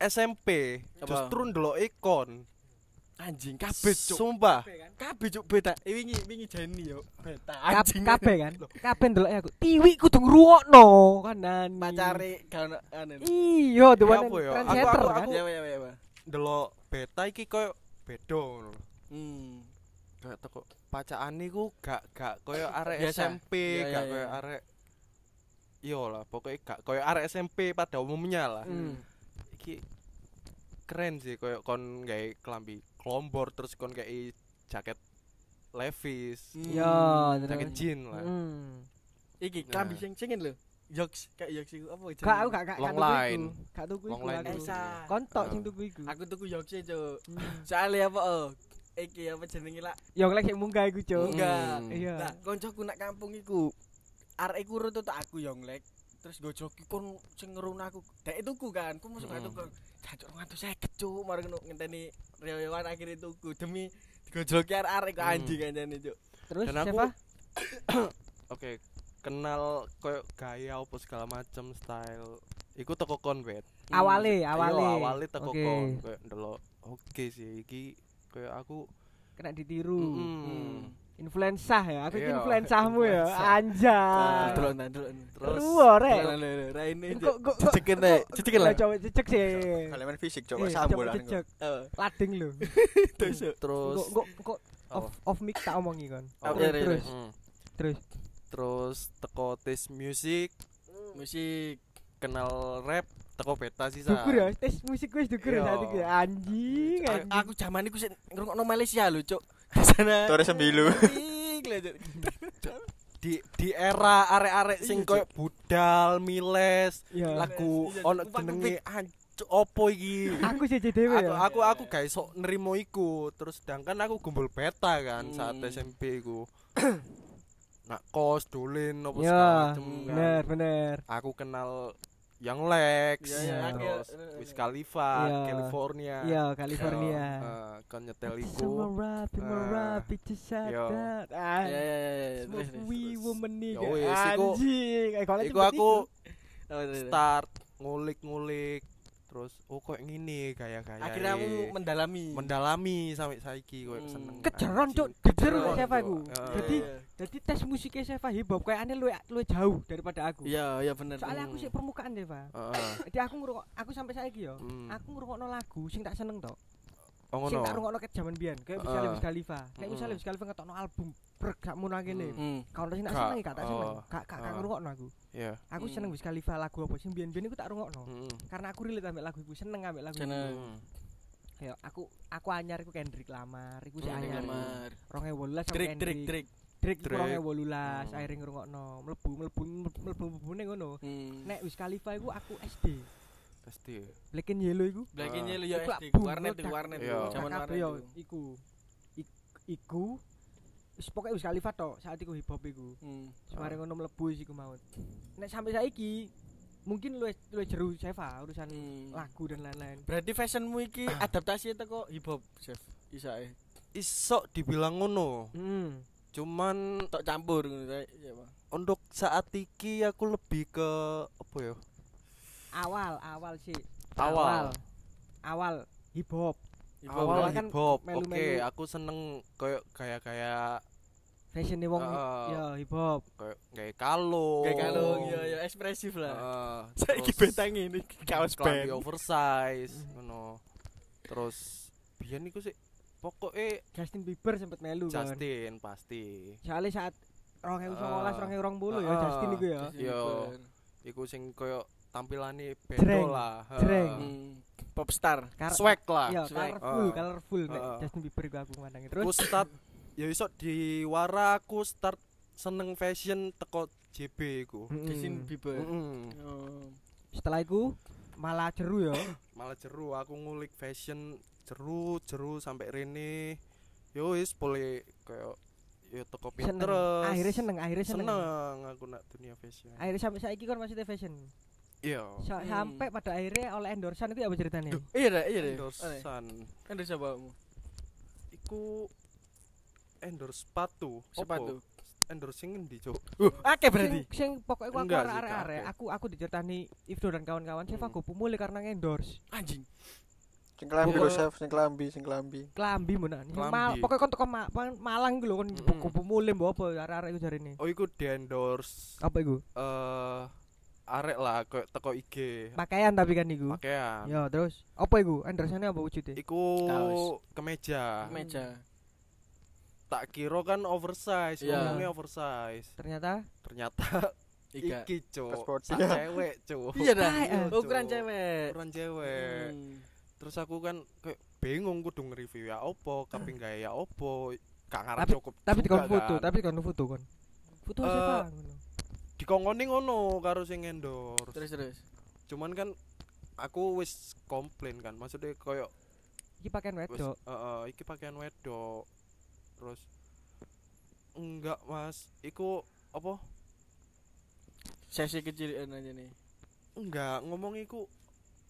Speaker 2: SMP
Speaker 3: Apa?
Speaker 2: justru ndelok ikon
Speaker 3: anjing kabeh cuk
Speaker 2: sumpah
Speaker 3: kabeh cuk beta Eh, wingi wingi jeni yo beta
Speaker 1: kab-
Speaker 3: anjing
Speaker 1: kabeh kan. Kabeh ndelok aku. Tiwi kudu ngruwokno kanan.
Speaker 3: pacare gak ono anu
Speaker 1: Iya, the one
Speaker 2: Ya apa
Speaker 1: and
Speaker 2: ya, aku-
Speaker 1: trendsetter
Speaker 2: aku-
Speaker 1: kan.
Speaker 2: aku-
Speaker 3: ya ya ya ya.
Speaker 2: ndelok beta iki koyo beda ngono lho.
Speaker 3: hmm
Speaker 2: Kayak teko pacaan iku gak gak koyo arek
Speaker 3: Biasa.
Speaker 2: SMP,
Speaker 3: Iya,
Speaker 2: gak
Speaker 3: iya,
Speaker 2: koyo
Speaker 3: iya.
Speaker 2: arek Iya lah, pokoknya gak koyo arek SMP pada umumnya lah.
Speaker 1: Hmm.
Speaker 2: Iki keren sih koyo kon gawe klambi klombor terus kon gawe jaket Levi's,
Speaker 3: Hmm.
Speaker 1: Yo,
Speaker 2: jaket jean lah.
Speaker 1: Hmm.
Speaker 3: iki
Speaker 2: Nah.
Speaker 3: klambi sing singin lho yoks kayak yoks iku apa jenenge?
Speaker 1: Gak aku gak gak gak
Speaker 2: Long
Speaker 1: tuku iku.
Speaker 2: line.
Speaker 1: Gak tuku
Speaker 2: Long
Speaker 1: iku.
Speaker 2: line
Speaker 1: aku.
Speaker 2: itu.
Speaker 3: Esa.
Speaker 1: Kontok
Speaker 2: Ah.
Speaker 1: sing tuku iku.
Speaker 3: aku tuku yoks e cuk soalnya apa oh iki apa jenenge lah
Speaker 1: Yo lek sing munggah iku, Cuk.
Speaker 2: Munggah.
Speaker 3: enggak
Speaker 2: Hmm.
Speaker 1: Iya.
Speaker 3: Lah, koncoku nak kampung iku. Arek iku runtu tak aku yonglek. Terus go joki kon sing ngerun aku. Dek tuku kan, ku mesti
Speaker 2: Mm-mm.
Speaker 3: tuku. Jancuk 250 cuk, mari ngono ngenteni rewewan akhirnya tuku demi digojoki arek-arek iku
Speaker 2: Mm.
Speaker 3: anjing anjane cuk.
Speaker 1: Terus
Speaker 2: Dan aku
Speaker 1: siapa?
Speaker 2: Oke, kenal koyo gaya apa segala macem style. Iku teko kon wet.
Speaker 3: Hmm.
Speaker 1: Awale, awale.
Speaker 2: Iya, awale teko
Speaker 1: Oke.
Speaker 2: kon koyo ndelok. Oke sih iki koyo aku
Speaker 1: Kena ditiru.
Speaker 2: Mm-mm.
Speaker 1: Hmm. Influenza ya. Aku iki
Speaker 2: Iya,
Speaker 1: influenzamu ya.
Speaker 2: influenza.
Speaker 1: Anjay.
Speaker 3: Ah, delok nah, delok. nah.
Speaker 2: Terus
Speaker 1: Ruwo rek.
Speaker 3: Delok, delok, delok. Raine
Speaker 1: Kok
Speaker 3: cuk.
Speaker 1: kok kok-
Speaker 3: Cekin rek, cekin lah.
Speaker 1: Lah, coba cecek sih.
Speaker 4: Kalau main fisik
Speaker 1: Eh,
Speaker 4: coba
Speaker 1: coba
Speaker 4: sambul lah.
Speaker 1: cecek.
Speaker 3: Eh,
Speaker 1: Lading lho.
Speaker 3: terus cuk.
Speaker 2: terus
Speaker 1: Kok kok kok
Speaker 2: Apa?
Speaker 1: off off mic tak omongi kon.
Speaker 2: Apa?
Speaker 1: Terus,
Speaker 3: Iya, iya,
Speaker 1: Terus
Speaker 2: Mm.
Speaker 1: terus.
Speaker 2: terus teko taste music
Speaker 3: musik
Speaker 2: kenal rap teko beta sih Sa.
Speaker 1: Dukur ya, tes musik wis dukur ya
Speaker 2: Iya.
Speaker 1: saat iki. Anjing.
Speaker 3: A-
Speaker 1: anjing.
Speaker 3: aku zaman iku sik ngrungokno Malaysia lho cuk. (laughs) Di sana.
Speaker 4: Terus sembilu.
Speaker 3: Anjing, lah, Cuk.
Speaker 2: di di era arek-arek sing
Speaker 3: Iya,
Speaker 2: koyo budal miles
Speaker 1: Iya.
Speaker 2: lagu
Speaker 3: Iya,
Speaker 2: ono
Speaker 3: Pak
Speaker 2: jenenge ancu opo iki
Speaker 1: Aku sih
Speaker 3: Iya,
Speaker 1: dhewe
Speaker 2: aku
Speaker 1: ya.
Speaker 2: aku aku gak iso nerimo iku terus sedangkan aku gumbul beta kan saat
Speaker 3: Hmm.
Speaker 2: SMP
Speaker 3: (coughs)
Speaker 2: iku nak kos dolen
Speaker 3: Ya,
Speaker 2: opo
Speaker 1: Iya,
Speaker 2: segala macem kan.
Speaker 1: Bener, bener.
Speaker 2: aku kenal yang Lex
Speaker 3: Iya,
Speaker 1: iya,
Speaker 2: terus
Speaker 3: iya, iya,
Speaker 2: Wiz
Speaker 3: iya.
Speaker 2: Khalifa
Speaker 1: Iya.
Speaker 2: California
Speaker 1: Iya, California.
Speaker 2: uh, kan nyetel iku
Speaker 1: Sama rapi, merapi,
Speaker 2: Yo.
Speaker 1: cesadat.
Speaker 3: Ya ya
Speaker 1: Ah,
Speaker 3: ya ya, ya. Terus, terus,
Speaker 1: Wi
Speaker 3: terus.
Speaker 1: woman nih,
Speaker 2: Yo,
Speaker 1: kan.
Speaker 2: wis, iku-
Speaker 1: anjing. Eh, kalau
Speaker 2: Iku
Speaker 1: cepet
Speaker 2: aku
Speaker 3: Oh, terus, terus.
Speaker 2: start ngulik-ngulik terus oh kok ngene gaya-gaya
Speaker 3: akhirnya aku mendalami
Speaker 2: mendalami sampai saiki koyo
Speaker 3: Hmm.
Speaker 2: seneng
Speaker 1: kejeron
Speaker 2: anjing.
Speaker 1: cuk kejer
Speaker 2: Kejeron,
Speaker 1: Seva
Speaker 2: Cuk.
Speaker 1: iku
Speaker 2: Heeh.
Speaker 1: jadi jadi tes musiknya Seva hip hop kayaknya lu lu jauh daripada aku
Speaker 3: iya iya bener
Speaker 1: soalnya aku
Speaker 2: Hmm.
Speaker 1: sih permukaan Seva
Speaker 2: Heeh.
Speaker 1: jadi aku ngurung aku sampai saiki yo
Speaker 2: Hmm.
Speaker 1: aku ngurungokno lagu sing tak seneng tok
Speaker 2: oh
Speaker 1: sing
Speaker 2: ngono Hmm.
Speaker 1: tak rungokno ket jaman biyen kayak
Speaker 2: Ah.
Speaker 1: misalnya Wiz Khalifa kayak
Speaker 2: Mm-mm.
Speaker 1: misalnya Wiz Khalifa ngetokno album brek sak mono kene
Speaker 2: Mm.
Speaker 3: Hmm.
Speaker 1: kalau sing tak
Speaker 2: Gak,
Speaker 1: seneng gak tak seneng
Speaker 2: oh.
Speaker 1: gak gak gak
Speaker 2: Ah.
Speaker 1: ngrungokno aku
Speaker 2: ya
Speaker 1: aku
Speaker 3: Hmm.
Speaker 1: seneng Wiz Khalifa lagu apa sing biyen-biyen iku tak rungokno
Speaker 2: Heeh.
Speaker 1: karena aku relate ambek lagu iku seneng ambek lagu iku.
Speaker 3: Seneng.
Speaker 1: Kayak aku aku anyar iku Kendrick Lamar iku sih
Speaker 2: Hmm,
Speaker 1: anyar
Speaker 2: Kendrick
Speaker 1: iku. 2018 sama
Speaker 3: Lamar. Drik drik
Speaker 1: Kendrick
Speaker 3: drik.
Speaker 1: Drake
Speaker 2: Drake.
Speaker 1: kurang wolulas
Speaker 2: Hmm.
Speaker 1: akhirnya ngerungokno mlebu mlebu mlebu mlebu mlebune ngono
Speaker 3: Hmm.
Speaker 1: nek Wiz Khalifa iku aku SD
Speaker 2: pasti ya.
Speaker 1: Black and Yellow iku
Speaker 3: Black
Speaker 2: Ah.
Speaker 3: and Yellow ya
Speaker 1: Iku
Speaker 3: SD
Speaker 1: aku
Speaker 3: warnet
Speaker 1: meledak.
Speaker 3: iku, warnet
Speaker 2: Iya.
Speaker 3: iku, zaman
Speaker 1: Kakak
Speaker 3: warnet
Speaker 1: yo,
Speaker 3: iku.
Speaker 1: iku Ik- iku wis pokoke Wiz Khalifa tok saat iku hip hop iku
Speaker 3: Hmm.
Speaker 1: semare ngono mlebu wis iku mau nek sampai saiki mungkin lu lu jeru Seva urusan
Speaker 3: Hmm.
Speaker 1: lagu dan lain-lain
Speaker 3: Berarti fashionmu
Speaker 1: (clears throat)
Speaker 3: iki adaptasi teko hip hop, Chef. eh. Isae.
Speaker 2: isok dibilang ngono
Speaker 1: hmm.
Speaker 2: cuman
Speaker 3: Tok campur ngono kae. Iya, Pak.
Speaker 2: untuk saat iki aku lebih ke apa ya
Speaker 1: awal awal sih
Speaker 2: Awal.
Speaker 1: awal hip hop
Speaker 3: Hip hop.
Speaker 2: awal
Speaker 1: kan
Speaker 2: hip hop
Speaker 1: melu-melu.
Speaker 2: oke aku seneng koyo kayak kayak
Speaker 1: fashion wong
Speaker 3: Oh.
Speaker 2: Ah.
Speaker 1: ya hip hop
Speaker 2: kayak kayak kalung
Speaker 3: Kayak iya, kalung yo yo ekspresif lah.
Speaker 2: Heeh,
Speaker 3: Saiki
Speaker 2: Oh. Ah. terus
Speaker 3: betang ini kaos
Speaker 2: kelambi
Speaker 3: band.
Speaker 2: oversize
Speaker 1: Mm-hmm.
Speaker 2: ngono terus biyen iku sih pokoknya
Speaker 1: Justin Bieber sempet melu kan
Speaker 2: Justin pasti
Speaker 1: soalnya saat rong ewu
Speaker 2: Ah.
Speaker 3: Oh.
Speaker 1: songolas rong ewu rong puluh ya
Speaker 2: Ah.
Speaker 1: Justin iku ya
Speaker 2: Yo. iku sing koyo tampilane
Speaker 1: Jreng,
Speaker 2: bedo lah heeh.
Speaker 1: jreng.
Speaker 3: Hmm. Popstar.
Speaker 1: Kar-
Speaker 2: swag lah
Speaker 1: ya
Speaker 3: swag.
Speaker 1: colorful
Speaker 2: Ah.
Speaker 1: colorful nek
Speaker 2: Ah.
Speaker 1: Justin Bieber iku aku ngandangin terus
Speaker 2: aku start ya iso diwara aku start seneng fashion teko JB iku
Speaker 1: Mm-mm.
Speaker 3: Justin
Speaker 1: Mm-hmm.
Speaker 3: Bieber.
Speaker 2: Mm-mm.
Speaker 3: Oh.
Speaker 1: setelah iku malah jeru ya
Speaker 2: malah jeru aku ngulik fashion jeru jeru sampai rene yo wis boleh kayak yo teko
Speaker 1: seneng
Speaker 2: Pinterest
Speaker 1: akhirnya seneng akhirnya seneng,
Speaker 2: seneng, aku nak dunia fashion
Speaker 1: akhirnya sampai saiki kan masih di fashion
Speaker 2: iya
Speaker 1: Sa-
Speaker 3: Hmm.
Speaker 1: sampai pada akhirnya oleh endorsan itu apa ceritanya
Speaker 3: Iya dah, iya dah. Oleh.
Speaker 2: endorsean
Speaker 3: Endorse apa kamu?
Speaker 2: iku endorse sepatu
Speaker 3: Sepatu.
Speaker 2: Apa? endorse sing endi cuk
Speaker 1: sing,
Speaker 3: Akeh berarti.
Speaker 1: sing pokoknya aku aku
Speaker 2: Enggak sih,
Speaker 1: arek arek
Speaker 2: Kak.
Speaker 1: aku aku diceritani Ifdo dan kawan-kawan siapa
Speaker 2: Hmm.
Speaker 1: gue pemulih karena endorse
Speaker 3: Anjing.
Speaker 4: Sing kelambi lho,
Speaker 2: Pokok-
Speaker 4: Chef, sing kelambi, sing kelambi.
Speaker 1: kelambi menan
Speaker 2: Kelambi.
Speaker 1: mal pokoknya kon teko Ma- Ma- Malang iku lho kon
Speaker 2: Mm-mm.
Speaker 1: gue pemulih mbok apa arek-arek iku jarine
Speaker 2: oh iku di endorse
Speaker 1: apa iku
Speaker 2: eh arek lah kayak teko IG
Speaker 1: pakaian tapi kan iku
Speaker 2: pakaian
Speaker 1: ya terus apa iku endorsannya apa wujudnya
Speaker 2: iku
Speaker 3: Kaos.
Speaker 2: kemeja
Speaker 3: Meja.
Speaker 2: tak kira kan oversize
Speaker 3: Iya.
Speaker 2: ngomongnya oversize
Speaker 1: ternyata
Speaker 2: ternyata
Speaker 3: (laughs) Iga.
Speaker 2: iki cuk
Speaker 4: Paspor
Speaker 2: sak
Speaker 4: dia.
Speaker 2: cewek cuk
Speaker 3: Iya dah.
Speaker 1: Apaan?
Speaker 2: Iya, Cuk.
Speaker 3: Ukuran cewek.
Speaker 2: ukuran cewek
Speaker 3: Hmm.
Speaker 2: terus aku kan kayak bingung kudu nge-review ya opo kaping gawe ya opo gak ngarep
Speaker 1: Tapi-
Speaker 2: cukup
Speaker 1: tapi
Speaker 2: juga
Speaker 1: dikon foto
Speaker 2: kan.
Speaker 1: tapi dikon foto kon foto
Speaker 2: Eh,
Speaker 1: siapa ngono.
Speaker 2: dikongkoni ngono karo sing endorse
Speaker 3: Terus terus.
Speaker 2: cuman kan aku wis komplain kan maksudnya koyo
Speaker 1: iki pakaian
Speaker 2: wis
Speaker 1: wedok
Speaker 2: heeh, iki pakaian wedok terus enggak mas iku apa
Speaker 3: Sesi kecil aja nih.
Speaker 2: enggak ngomong iku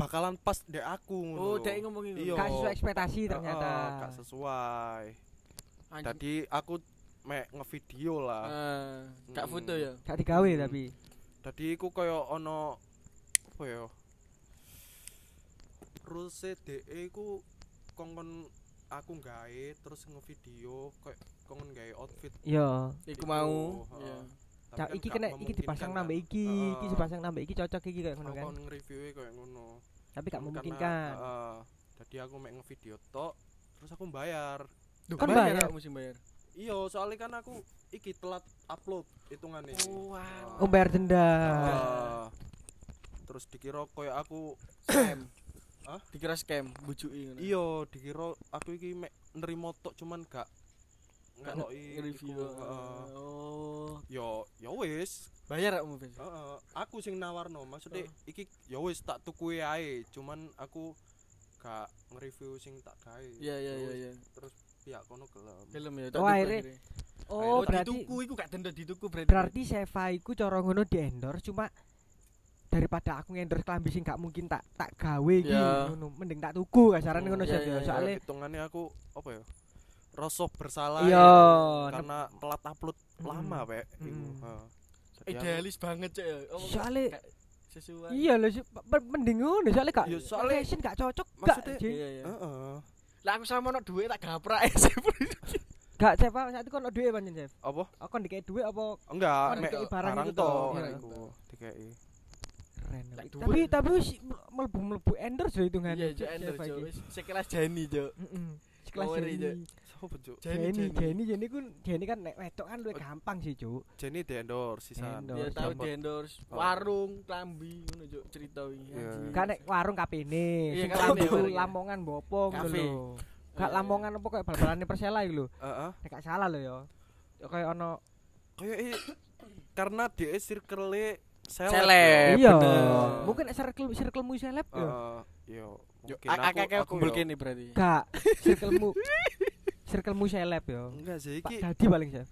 Speaker 2: bakalan pas dek aku ngono
Speaker 3: Oh,
Speaker 2: lho.
Speaker 3: dek ngomong ini.
Speaker 2: Iya.
Speaker 1: gak sesuai ekspektasi
Speaker 2: Heeh,
Speaker 1: ternyata
Speaker 2: gak sesuai
Speaker 3: Anjing.
Speaker 2: tadi aku mek ngevideo lah
Speaker 3: Ah, Kak
Speaker 2: Mm.
Speaker 3: foto ya.
Speaker 1: gak digawe
Speaker 2: Hmm.
Speaker 1: tapi
Speaker 2: Dadi iku kaya ana apa ya? Ruse DE iku kongkon aku gawe terus ngevideo kayak kongkon gawe outfit.
Speaker 1: ya
Speaker 2: Iku,
Speaker 3: Iku mau.
Speaker 2: heeh.
Speaker 3: Iya.
Speaker 2: Tapi
Speaker 1: Cak
Speaker 2: kan
Speaker 1: iki
Speaker 2: gak
Speaker 1: kena iki
Speaker 2: memungkinkan
Speaker 1: dipasang
Speaker 2: kan.
Speaker 1: nambah iki, iki
Speaker 2: Heeh.
Speaker 1: dipasang nambah iki cocok iki kayak ngono
Speaker 2: Aku
Speaker 1: kan.
Speaker 2: kon nge-reviewe kaya ngono.
Speaker 1: Tapi gak
Speaker 2: Cuman
Speaker 1: memungkinkan.
Speaker 2: Karena, heeh, dadi aku mek ngevideo tok terus aku bayar.
Speaker 3: Duh,
Speaker 1: Kan
Speaker 3: bayar
Speaker 1: bayar.
Speaker 3: aku mesti
Speaker 2: (coughs)
Speaker 3: bayar.
Speaker 2: Iya, soalnya kan aku iki telat upload hitungane. eh.
Speaker 3: wah.
Speaker 1: Oh bayar denda.
Speaker 2: Heeh. terus dikira kaya aku
Speaker 3: scam.
Speaker 2: Hah?
Speaker 3: Dikira scam, bujuki ngono.
Speaker 2: iya dikira aku iki mek nerimo tok cuman gak
Speaker 3: Gak
Speaker 2: ngeloki
Speaker 3: review.
Speaker 2: iku, ah. heeh.
Speaker 3: Oh.
Speaker 2: yo yo wis
Speaker 3: Bayar aku mesti.
Speaker 2: heeh. aku sing nawarno maksudnya iki yo wis tak tukui ae cuman aku gak nge-review sing tak gawe
Speaker 3: Iya, iya,
Speaker 2: Yo
Speaker 3: iya,
Speaker 2: wis,
Speaker 3: iya.
Speaker 2: terus pihak kono gelem
Speaker 3: Film ya.
Speaker 1: Oh,
Speaker 3: tuku
Speaker 1: akhirnya.
Speaker 3: akhirnya.
Speaker 1: Oh
Speaker 2: Ayo,
Speaker 1: berarti
Speaker 3: dituku iku gak denda dituku berarti.
Speaker 1: berarti Seva iku cara ngono di endorse cuma daripada aku endorse klambi sing gak mungkin tak tak gawe iki
Speaker 3: Ya.
Speaker 2: Iya.
Speaker 1: ngono. Mending tak tuku kasarane
Speaker 3: Hmm,
Speaker 1: ngono
Speaker 3: ya,
Speaker 1: Chef,
Speaker 3: ya,
Speaker 1: ya.
Speaker 3: ya.
Speaker 1: Soale
Speaker 2: Kayak hitungannya aku apa ya rasa bersalah
Speaker 1: Iya,
Speaker 2: ya,
Speaker 1: nep-
Speaker 2: karena telat upload lama
Speaker 1: Mm,
Speaker 2: pek iku
Speaker 1: mm.
Speaker 2: heeh. Jadi aku- iya.
Speaker 3: idealis banget cek. ya. Oh,
Speaker 1: soale
Speaker 3: Kayak sesuai.
Speaker 1: iya lho sih, pe- pe- mending ngono soalnya gak
Speaker 2: Ya, soalnya-
Speaker 1: fashion gak cocok gak
Speaker 2: maksudnya-
Speaker 1: Ji.
Speaker 3: Iya, iya.
Speaker 2: Heeh.
Speaker 3: Lah aku selama ono duit tak (laughs) gaprak SMP.
Speaker 1: gak Chef ah, saat itu kan duwe pancen Chef
Speaker 2: Apa?
Speaker 1: aku dikek duwe apa
Speaker 2: Enggak,
Speaker 1: Kan
Speaker 2: mek
Speaker 1: dikei barang
Speaker 2: barang
Speaker 1: itu
Speaker 2: to
Speaker 1: toh,
Speaker 2: kan
Speaker 1: iya.
Speaker 2: iku dikei.
Speaker 1: keren
Speaker 3: Lek duwe.
Speaker 1: tapi tapi wis mlebu mlebu endorse lho hitungan
Speaker 3: Iya, Cuk, Ender, Cuk. Wis Sekelas Jani, Cuk.
Speaker 1: sekelas
Speaker 3: Ngawur,
Speaker 1: Jenny.
Speaker 3: Cuk.
Speaker 2: Sopo Cuk?
Speaker 1: Jenny Jenny Jenny kun Jenny kan nek wedok kan luwih gampang sih cuk
Speaker 2: Jenny di endorse sisan.
Speaker 1: Endorse.
Speaker 3: Ya
Speaker 1: Terus
Speaker 3: tahu
Speaker 2: Gampang.
Speaker 3: di endorse
Speaker 2: Oh.
Speaker 3: warung, klambi ngono Cuk cerita iki.
Speaker 2: Iya.
Speaker 3: anjing.
Speaker 1: gak nek warung kapene
Speaker 3: Iya,
Speaker 1: sing
Speaker 3: kapene,
Speaker 1: kudu
Speaker 3: warung.
Speaker 1: lamongan bopo ngono
Speaker 3: Kafe.
Speaker 1: lho gak
Speaker 3: Iya,
Speaker 1: lamongan apa kayak bal-balane Persela iki lho
Speaker 2: Heeh.
Speaker 1: nek gak salah lho ya Ya kayak ono
Speaker 2: Kayak i- karena dia circle-e
Speaker 3: Seleb. Eh,
Speaker 1: iya
Speaker 3: bener.
Speaker 1: mungkin nek circle circlemu seleb ya
Speaker 2: Heeh. Yo.
Speaker 3: Yo,
Speaker 2: mungkin
Speaker 3: ak-
Speaker 2: aku-
Speaker 3: akeh
Speaker 2: aku
Speaker 3: kumpul
Speaker 2: yo-
Speaker 3: kene berarti.
Speaker 1: gak circlemu circlemu seleb ya
Speaker 2: Enggak sih
Speaker 1: Pak
Speaker 2: iki
Speaker 1: Dadi paling Chef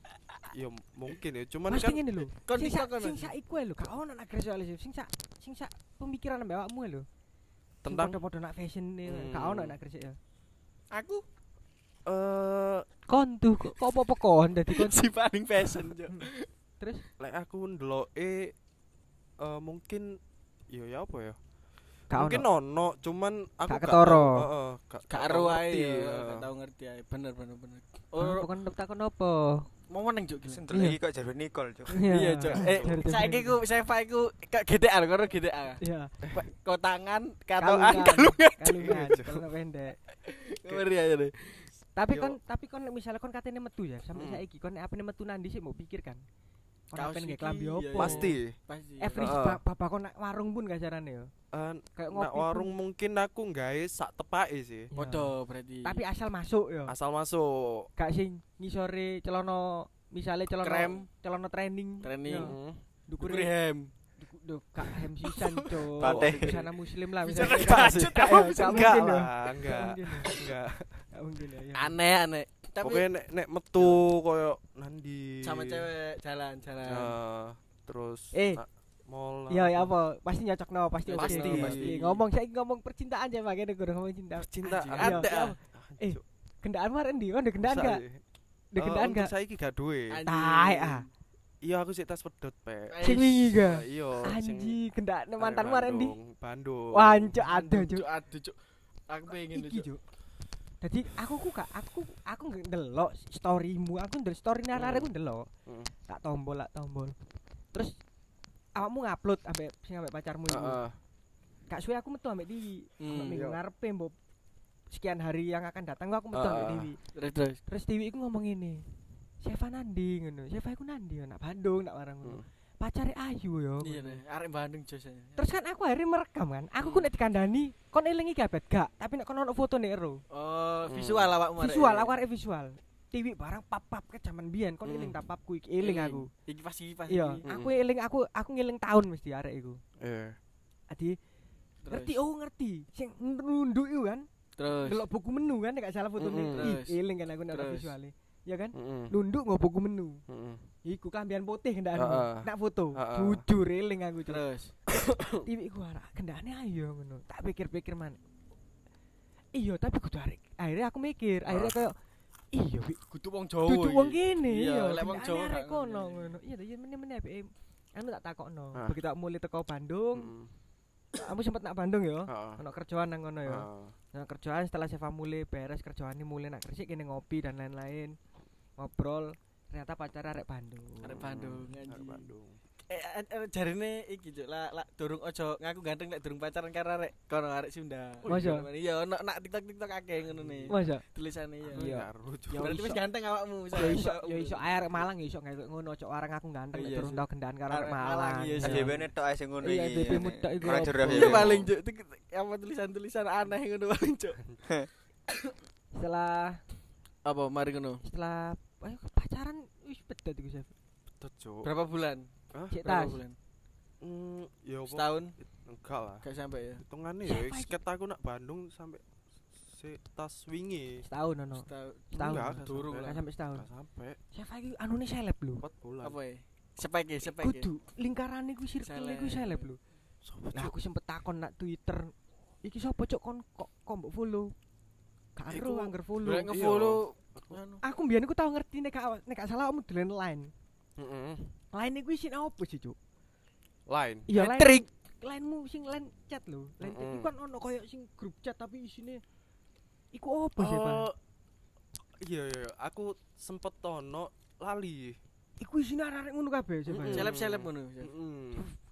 Speaker 2: ya mungkin ya cuman
Speaker 1: Mesti
Speaker 2: kan
Speaker 1: ngene lho
Speaker 3: Kon
Speaker 1: sing
Speaker 3: bisa
Speaker 1: sak
Speaker 3: kon.
Speaker 1: sing sak iku ae lho gak ono nak agresif soalnya, Chef. sing sak sing sak pemikiran mbak awakmu ae lho Sing
Speaker 2: tentang
Speaker 1: podo-podo nak fashion ya,
Speaker 2: Hmm.
Speaker 1: gak ono nak gresik ya
Speaker 3: Aku
Speaker 2: eh
Speaker 1: kon tuh kok kok apa-apa kon dadi kon
Speaker 3: si paling fashion, Cuk.
Speaker 1: terus
Speaker 2: lek aku ndeloke eh mungkin yo ya apa ya?
Speaker 1: gak
Speaker 2: mungkin
Speaker 1: ono
Speaker 2: ono, cuman aku
Speaker 1: Gak
Speaker 2: gak
Speaker 1: ketara.
Speaker 2: tau, heeh, gak-
Speaker 3: Gak
Speaker 2: gak
Speaker 3: ero
Speaker 2: tau
Speaker 3: ae
Speaker 2: ngerti,
Speaker 3: ya,
Speaker 2: ya.
Speaker 3: gak tau ngerti ae. Bener bener bener.
Speaker 1: Oh,
Speaker 3: Oh,
Speaker 1: kon takon apa?
Speaker 3: mau meneng Cuk. gila.
Speaker 4: Sendel iki kok jarwe Nicole, Cuk.
Speaker 3: Iya, Cuk. Eh,
Speaker 1: Dari- dari-
Speaker 3: saiki ku Sefa iku kok GDA karo GDA.
Speaker 1: Iya.
Speaker 3: Kau tangan,
Speaker 1: Kalungan.
Speaker 3: katoan, kalungan.
Speaker 1: Kalungan, kalungan pendek.
Speaker 3: Ngeri aja deh.
Speaker 1: Tapi
Speaker 2: Yo.
Speaker 1: kon tapi kon misalnya kon katene metu ya, sampai
Speaker 2: Hmm.
Speaker 1: saiki kon nek apene metu nandi sih mau pikir kan. Kon
Speaker 3: Kaos
Speaker 1: apen
Speaker 3: iki,
Speaker 1: nggih klambi
Speaker 3: iya,
Speaker 1: opo?
Speaker 3: iya.
Speaker 2: pasti Eh,
Speaker 3: Pasti.
Speaker 1: Every
Speaker 2: Heeh.
Speaker 1: ba- bapak kon nak warung pun gak jarane yo.
Speaker 2: eh,
Speaker 1: Kayak ngopi.
Speaker 2: nak
Speaker 1: pun.
Speaker 2: warung mungkin aku gawe sak tepake sih
Speaker 1: Iya.
Speaker 3: Podo berarti.
Speaker 1: Tapi asal masuk yo.
Speaker 2: asal masuk
Speaker 1: Gak sing ngisore celana misalnya celana
Speaker 3: Krem.
Speaker 1: celana training.
Speaker 3: Training.
Speaker 1: Yo.
Speaker 2: Heeh.
Speaker 1: Dukure
Speaker 3: Kuriham.
Speaker 1: duku- duh, gak hem sisan, Cuk.
Speaker 4: Batik.
Speaker 1: Busana muslim lah.
Speaker 3: Bisa
Speaker 1: misalnya.
Speaker 3: kebacut
Speaker 1: Gak-
Speaker 3: kamu
Speaker 1: gak
Speaker 3: bisa
Speaker 1: mungkin, ya.
Speaker 3: enggak
Speaker 1: yo.
Speaker 3: lah.
Speaker 2: lah
Speaker 1: Gak
Speaker 2: enggak
Speaker 1: mungkin, yo.
Speaker 2: enggak
Speaker 1: Gak mungkin ya. yo.
Speaker 3: Aneh aneh. Tapi
Speaker 2: pokoknya nek nek metu koyo nandi
Speaker 3: sama cewek jalan jalan.
Speaker 2: Eh, terus
Speaker 1: Eh.
Speaker 2: ah, mall
Speaker 1: Iya ya apa? Pasti nyocok no, pasti oke. Iya,
Speaker 3: Pasti,
Speaker 2: pasti.
Speaker 1: Ngomong saya ngomong percintaan aja pakai nego ngomong cinta.
Speaker 2: cinta
Speaker 3: Anjing,
Speaker 1: Iya,
Speaker 3: Ada.
Speaker 1: iya. Eh, Kendaan maren di, kan kendaan gak?
Speaker 2: iya.
Speaker 1: Ada kendaan gak?
Speaker 2: saya iki Eh, gak duwe
Speaker 3: Anjing.
Speaker 1: Tai ah.
Speaker 2: iya aku sih tas pedot pek
Speaker 1: Sing wingi gak?
Speaker 2: Eh, iya sing
Speaker 1: Anji, kendaan
Speaker 2: dari
Speaker 1: mantan maren di.
Speaker 2: Bandung, Bandung
Speaker 1: Wancuk aduh
Speaker 3: Cuk,
Speaker 1: cuk.
Speaker 3: aduh cuk. Aku pengen
Speaker 1: Iki
Speaker 3: itu.
Speaker 1: cuk. Jadi aku ku gak aku aku nggak ndelok storymu, aku ndelok story narare aku ndelok.
Speaker 2: Heeh.
Speaker 1: Tak tombol tak tombol. Terus awakmu ngupload ambek sing ambek pacarmu itu.
Speaker 2: Heeh.
Speaker 1: Gak suwe aku metu ambek Dewi.
Speaker 3: Hmm,
Speaker 1: Minggu
Speaker 2: iya.
Speaker 1: ngarepe mbok sekian hari yang akan datang aku metu ambek
Speaker 2: Heeh.
Speaker 1: Dewi.
Speaker 3: Terus terus.
Speaker 1: Terus Dewi iku ngomong ngene. Sefa nandi ngono. Sefa iku nandi yo, nak Bandung nak warang ngono. Pacare Ayu yo.
Speaker 3: Iya nih. Hmm. Arek Bandung Cuk. saya.
Speaker 1: Terus kan aku akhirnya merekam kan. Aku ku nek dikandani, kon elingi kabet gak, tapi nek kon ono foto nek ero.
Speaker 2: Hmm.
Speaker 3: Oh, visual awakmu arek.
Speaker 1: Visual aku arek visual. Dewi barang pap-pap ke zaman biyen kon
Speaker 2: Hmm.
Speaker 1: eling tak papku iki eling aku.
Speaker 3: Iki pasti pasti.
Speaker 1: Iya,
Speaker 2: Hmm.
Speaker 1: aku eling aku aku ngeling tahun mesti arek iku.
Speaker 2: Iya.
Speaker 1: Adi
Speaker 3: Terus.
Speaker 1: ngerti oh ngerti. Sing nunduk iku kan.
Speaker 3: Terus.
Speaker 1: Delok buku menu kan nek gak salah fotone.
Speaker 2: Mm-mm.
Speaker 1: Ih,
Speaker 3: Terus.
Speaker 1: eling kan aku nek ono
Speaker 3: Terus.
Speaker 1: visuale. Ya kan?
Speaker 2: Heeh.
Speaker 1: Nunduk nggo buku menu.
Speaker 2: Heeh.
Speaker 1: Iku kelambian putih kendaraan.
Speaker 2: Heeh.
Speaker 1: Nak foto.
Speaker 2: Heeh.
Speaker 1: Jujur eling aku cuk.
Speaker 3: Terus.
Speaker 1: Tiwi ku arah kendane ayo ngono. Tak pikir-pikir man. Iya, tapi kudu arek. Akhirnya aku mikir, akhirnya
Speaker 2: Ah.
Speaker 1: kayak iya wi,
Speaker 3: Kudu wong Jawa.
Speaker 1: dudu
Speaker 3: iki.
Speaker 1: wong kene
Speaker 3: Oh, Iya,
Speaker 1: iya.
Speaker 3: lek wong
Speaker 1: kendane
Speaker 3: Jawa
Speaker 1: arek
Speaker 3: gak
Speaker 1: kono
Speaker 3: ngono.
Speaker 1: ngono. Iya, iya meneh-meneh ape anu tak takokno.
Speaker 2: Ah.
Speaker 1: Begitu aku mulai teko
Speaker 3: Hmm.
Speaker 1: Bandung,
Speaker 2: Heeh.
Speaker 1: kamu sempet nak Bandung ya.
Speaker 3: Ah.
Speaker 2: Heeh.
Speaker 1: Ono kerjaan nang ngono ya.
Speaker 2: Heeh.
Speaker 1: Nah, kerjaan setelah Seva mulai beres kerjaannya mulai nak Gresik kene ngopi dan lain-lain. Ngobrol, ternyata pacar arek Bandung.
Speaker 3: Arek Bandung
Speaker 2: Arek
Speaker 3: anjing.
Speaker 2: Bandung.
Speaker 3: Eh, eh, eh, jarine iki cuk lah lah durung ojo ngaku ganteng lek durung pacaran karo arek kono arek Sunda.
Speaker 1: Masa?
Speaker 3: Iya, ono nak TikTok TikTok akeh ngono ne.
Speaker 1: Masa?
Speaker 3: Tulisane
Speaker 1: Iya.
Speaker 3: iya.
Speaker 2: Ngaruh, Cuk.
Speaker 1: Ya
Speaker 3: Berarti wis
Speaker 1: iso.
Speaker 3: ganteng awakmu.
Speaker 1: Ya iso, ya iso air Malang ya iso kayak ngono cok warang aku ganteng
Speaker 3: Iya
Speaker 1: iya, turun
Speaker 3: sih.
Speaker 1: tau kendaan karo arek
Speaker 3: Arek Malang,
Speaker 1: Malang.
Speaker 3: iya sih.
Speaker 4: FDP ne tok ae sing ngono
Speaker 1: Iya,
Speaker 4: iki.
Speaker 1: FDP muda iku
Speaker 4: Orang
Speaker 1: apa?
Speaker 4: jerah
Speaker 3: Iya paling cuk tik- apa tulisan-tulisan aneh ngono paling cuk.
Speaker 1: Setelah
Speaker 3: Apa mari ngono?
Speaker 1: setelah ayo pacaran wis pedot iku Chef.
Speaker 2: Betul, Cuk.
Speaker 3: Berapa bulan?
Speaker 1: Cek
Speaker 3: Berapa
Speaker 1: tas.
Speaker 3: bulan?
Speaker 2: Hmm, ya apa?
Speaker 3: Setahun
Speaker 2: Enggak lah.
Speaker 3: gak sampai ya.
Speaker 2: Hitungannya ya
Speaker 1: Siapa iki?
Speaker 2: sket aku nak Bandung sampai se tas wingi.
Speaker 1: Setahun ono.
Speaker 3: Setahun.
Speaker 1: Setahun.
Speaker 2: Enggak,
Speaker 3: Enggak,
Speaker 2: durung
Speaker 1: Gak
Speaker 2: lah.
Speaker 1: sampai setahun.
Speaker 2: Enggak sampai
Speaker 1: Chef iki anune seleb lho.
Speaker 2: 4 bulan.
Speaker 3: Apa ya? Spek ya, spek ya.
Speaker 1: Kudu lingkaran iku circle iku
Speaker 3: Seleb.
Speaker 1: seleb lho.
Speaker 2: Sopo,
Speaker 1: Lah
Speaker 2: Cuk?
Speaker 1: aku sempet takon nak Twitter. Iki sapa cok kon kok kok mbok follow? Gak
Speaker 2: Iku-
Speaker 1: ero anggar follow.
Speaker 3: Lek
Speaker 2: Iya.
Speaker 3: nge-follow
Speaker 2: Aku-
Speaker 3: anu.
Speaker 1: Aku mbiyen iku tau ngerti nek gak nek gak salah kamu dolen line.
Speaker 2: Heeh.
Speaker 1: Line iku isin apa sih cok?
Speaker 2: Lain.
Speaker 1: Iya line.
Speaker 3: Trik
Speaker 1: lainmu sing lain chat lho. Lain chat
Speaker 2: Mm-mm.
Speaker 1: iku kan ono koyo sing grup chat tapi isine iku opo sih, Bang?
Speaker 2: Eh, Iya iya, iya. aku sempet tono lali.
Speaker 1: Iku isine arek ngono kabeh sih, Bang.
Speaker 2: Mm-mm.
Speaker 3: Seleb-seleb ngono.
Speaker 2: Mm-mm.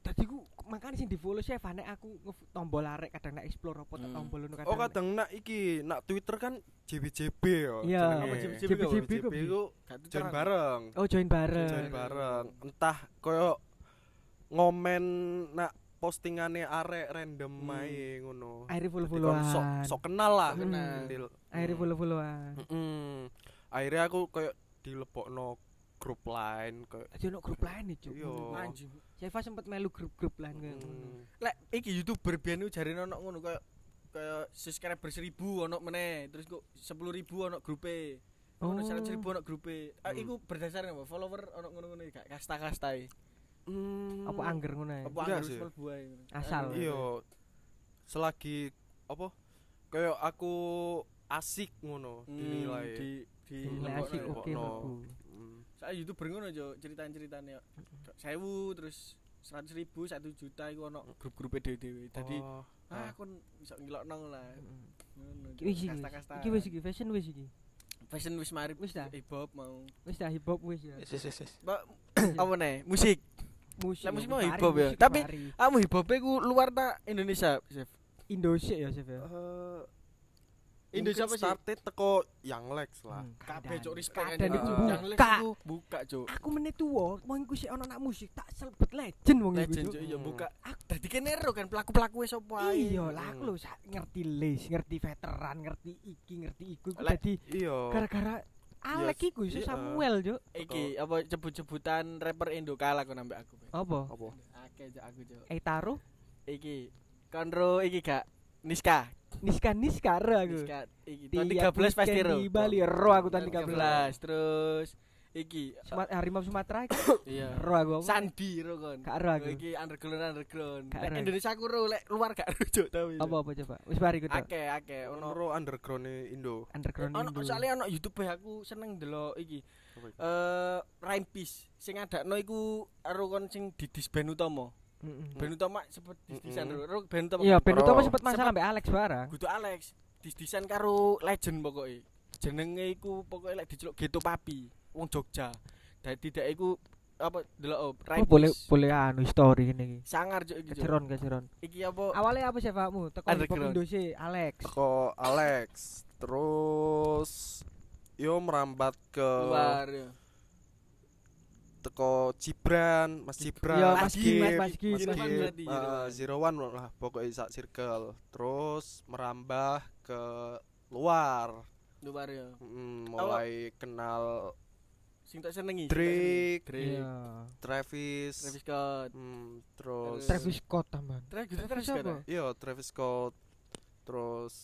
Speaker 1: Dadi ku makane sing di-follow sih Evan, nek aku nge- tombol arek kadang nek explore apa tak
Speaker 3: Mm.
Speaker 1: tombol ngono kadang.
Speaker 2: Oh kadang nak iki nak Twitter kan JBJB ya.
Speaker 1: Iya.
Speaker 2: jenenge.
Speaker 1: Apa
Speaker 3: JBJB?
Speaker 1: JBJB
Speaker 2: JBJB
Speaker 1: ku, Bi?
Speaker 2: ku
Speaker 3: Gak tuh
Speaker 2: join
Speaker 3: terang.
Speaker 2: bareng.
Speaker 1: Oh, join
Speaker 2: Join
Speaker 1: bareng.
Speaker 2: bareng. Entah koyo ngomen nak postingane arek random
Speaker 3: Hmm.
Speaker 2: ae ngono.
Speaker 1: Akhirnya
Speaker 2: Jadi kon Sok
Speaker 1: follow-followan.
Speaker 2: sok kenal lah.
Speaker 1: Hmm.
Speaker 2: Dil-
Speaker 1: Akhirnya
Speaker 2: Hmm.
Speaker 1: follow-followan.
Speaker 2: Mm-mm. Akhirnya aku koyo dilebokno grup lain koyo
Speaker 1: Aja ono grup lain iki,
Speaker 2: Iya.
Speaker 1: Cuk.
Speaker 3: Anjing.
Speaker 1: Saya sempat melu grup-grup lain kayak ngono.
Speaker 2: Mm.
Speaker 3: Lek iki YouTuber biyen ku jarine ono ngono kaya kaya subscriber 1000 ono meneh, terus kok 10000 ono grupe.
Speaker 1: Oh.
Speaker 3: Ono
Speaker 2: Oh.
Speaker 3: 100000 ono grupe. Ah,
Speaker 2: Hmm.
Speaker 3: iku berdasarkan apa? Follower ono ngono-ngono gak kasta-kasta e.
Speaker 2: Mm.
Speaker 1: Apa angger ngono ae?
Speaker 3: Apa
Speaker 2: Enggak
Speaker 3: harus
Speaker 2: sih.
Speaker 3: mlebu ae.
Speaker 1: Eh, Asal.
Speaker 3: Anu.
Speaker 2: Iya. Selagi apa? Koyo aku asik ngono
Speaker 3: Hmm,
Speaker 2: dinilai.
Speaker 3: di di
Speaker 1: Dinilai
Speaker 3: lebokno
Speaker 1: asik
Speaker 3: ya.
Speaker 1: oke
Speaker 2: Lebokno.
Speaker 1: mlebu.
Speaker 2: Mm.
Speaker 3: Saya YouTuber ngono jo ceritane-ceritane yo. 1000 terus 100.000, 1 juta iku ono grup-grupe dhewe-dhewe. Dadi
Speaker 2: Oh.
Speaker 3: ah kon iso ngilokno lah.
Speaker 2: Mm.
Speaker 3: Ngono.
Speaker 1: Iki wis iki. Iki wis iki fashion wis iki.
Speaker 3: Fashion wis marip
Speaker 1: Wis dah.
Speaker 3: Ibob mau.
Speaker 1: Wis dah hip hop wis ya.
Speaker 4: Yes, yes, yes, yes.
Speaker 3: Mbak,
Speaker 1: (coughs)
Speaker 3: apa nih? Musik.
Speaker 1: Musik.
Speaker 3: Lah,
Speaker 1: ya,
Speaker 3: musik mah
Speaker 1: kemari,
Speaker 3: hip hop ya.
Speaker 1: musik
Speaker 3: Tapi-
Speaker 1: kemari.
Speaker 3: Kamu hip-hopnya ku luar ta Indonesia, Chef?
Speaker 1: Indonesia ya Chef ya.
Speaker 2: Eh, mungkin
Speaker 3: Indonesia apa sih?
Speaker 2: started teko Young Lex lah.
Speaker 1: Hmm,
Speaker 3: Kabeh
Speaker 1: kadang.
Speaker 3: cok respect ya,
Speaker 1: Kadang
Speaker 3: anjing.
Speaker 1: iku
Speaker 2: Ah.
Speaker 3: Yang Lex
Speaker 1: buka.
Speaker 3: iku buka cok.
Speaker 1: Aku meneh tuwa, wong iku sik ono anak musik tak selbet legend wong iku.
Speaker 3: Legend
Speaker 1: Cuk.
Speaker 3: cok, ya
Speaker 2: Hmm.
Speaker 3: buka. Dadi kene ero kan pelaku-pelaku wis apa ae.
Speaker 1: Iya lah aku lho sak- ngerti les, ngerti veteran, ngerti iki, ngerti iku. Iku
Speaker 3: Lek-
Speaker 1: Dadi
Speaker 3: oh.
Speaker 2: Iya.
Speaker 1: gara-gara Alek iku iso
Speaker 2: iya.
Speaker 1: Samuel Cuk.
Speaker 3: Iki apa jebut-jebutan rapper Indo kalah kon ambek aku. Bek.
Speaker 1: Apa?
Speaker 2: Apa?
Speaker 3: Akeh cok aku cok.
Speaker 1: Eitaro,
Speaker 3: Iki konro iki gak Niska.
Speaker 1: Niska Niska re aku.
Speaker 3: Niska iki
Speaker 1: Tiap
Speaker 3: tahun 13 pasti
Speaker 1: weekend
Speaker 3: ero.
Speaker 1: Di Bali ro aku tahun 13.
Speaker 3: 13 terus iki
Speaker 1: Suma- Harimau Sumatera iki,
Speaker 3: iya.
Speaker 1: ro aku. apa?
Speaker 3: Sandi ro kon.
Speaker 1: Gak ero aku.
Speaker 3: Iki underground underground.
Speaker 1: Gak
Speaker 3: Lek
Speaker 1: ero.
Speaker 3: Indonesia aku ro lek luar gak ro cok tapi.
Speaker 1: apa apa coba wis bari ku Cuk.
Speaker 3: Akeh akeh ono
Speaker 2: Ono underground Indo.
Speaker 1: underground
Speaker 3: ono
Speaker 1: Indo.
Speaker 3: soalnya ono YouTube aku seneng delok iki.
Speaker 2: Apa iku?
Speaker 3: Eh Rhyme Peace sing adakno iku karo kon sing didis Ben Utomo.
Speaker 1: Mm-mm.
Speaker 2: Hmm.
Speaker 3: Ben Utomo sebut dis-disan
Speaker 2: Mm-mm.
Speaker 3: ro. Ro Ben Utomo.
Speaker 1: Iya,
Speaker 3: kan?
Speaker 1: Ben Utomo
Speaker 2: Bro.
Speaker 1: sempat masalah mbak Alex barang.
Speaker 3: Gutu Alex dis-disan karo legend pokoke. Jenenge iku pokoke lek diceluk Geto Papi, wong Jogja. Dadi dek iku apa delok oh,
Speaker 1: Oh,
Speaker 3: Rhyme
Speaker 1: boleh
Speaker 3: Peace.
Speaker 1: boleh anu story ini. iki.
Speaker 3: Sangar cuk iki. Cuk.
Speaker 1: Keceron keceron.
Speaker 3: Iki apa?
Speaker 1: Awalnya apa sih Fakmu? Teko hip hop
Speaker 3: Underground.
Speaker 1: Indo sih Alex.
Speaker 2: Teko Alex. Terus yo merambat ke
Speaker 3: luar ya.
Speaker 2: teko Cibran, Mas Cibran.
Speaker 1: Iya, Mas
Speaker 2: Mas
Speaker 1: Gim, Mas- kan
Speaker 2: Gim,
Speaker 1: Mas Gim,
Speaker 2: Mas
Speaker 3: Mas Gim.
Speaker 2: Gim,
Speaker 1: gitu
Speaker 3: Berarti Zero
Speaker 2: eh,
Speaker 3: One.
Speaker 2: Zero One lah pokoknya sak circle. Terus merambah ke luar.
Speaker 3: Luar ya.
Speaker 2: Mm,
Speaker 1: Oh.
Speaker 2: mulai kenal
Speaker 3: Sing tak senengi. sing tak senengi.
Speaker 2: Drake,
Speaker 3: Drake.
Speaker 1: Iya.
Speaker 2: Travis,
Speaker 3: Travis Scott.
Speaker 2: Hmm, terus
Speaker 1: Travis Scott tambahan.
Speaker 3: Travis, Gutu
Speaker 1: Travis
Speaker 3: Travis Scott.
Speaker 1: apa?
Speaker 3: ya?
Speaker 2: Iya, Travis Scott. Terus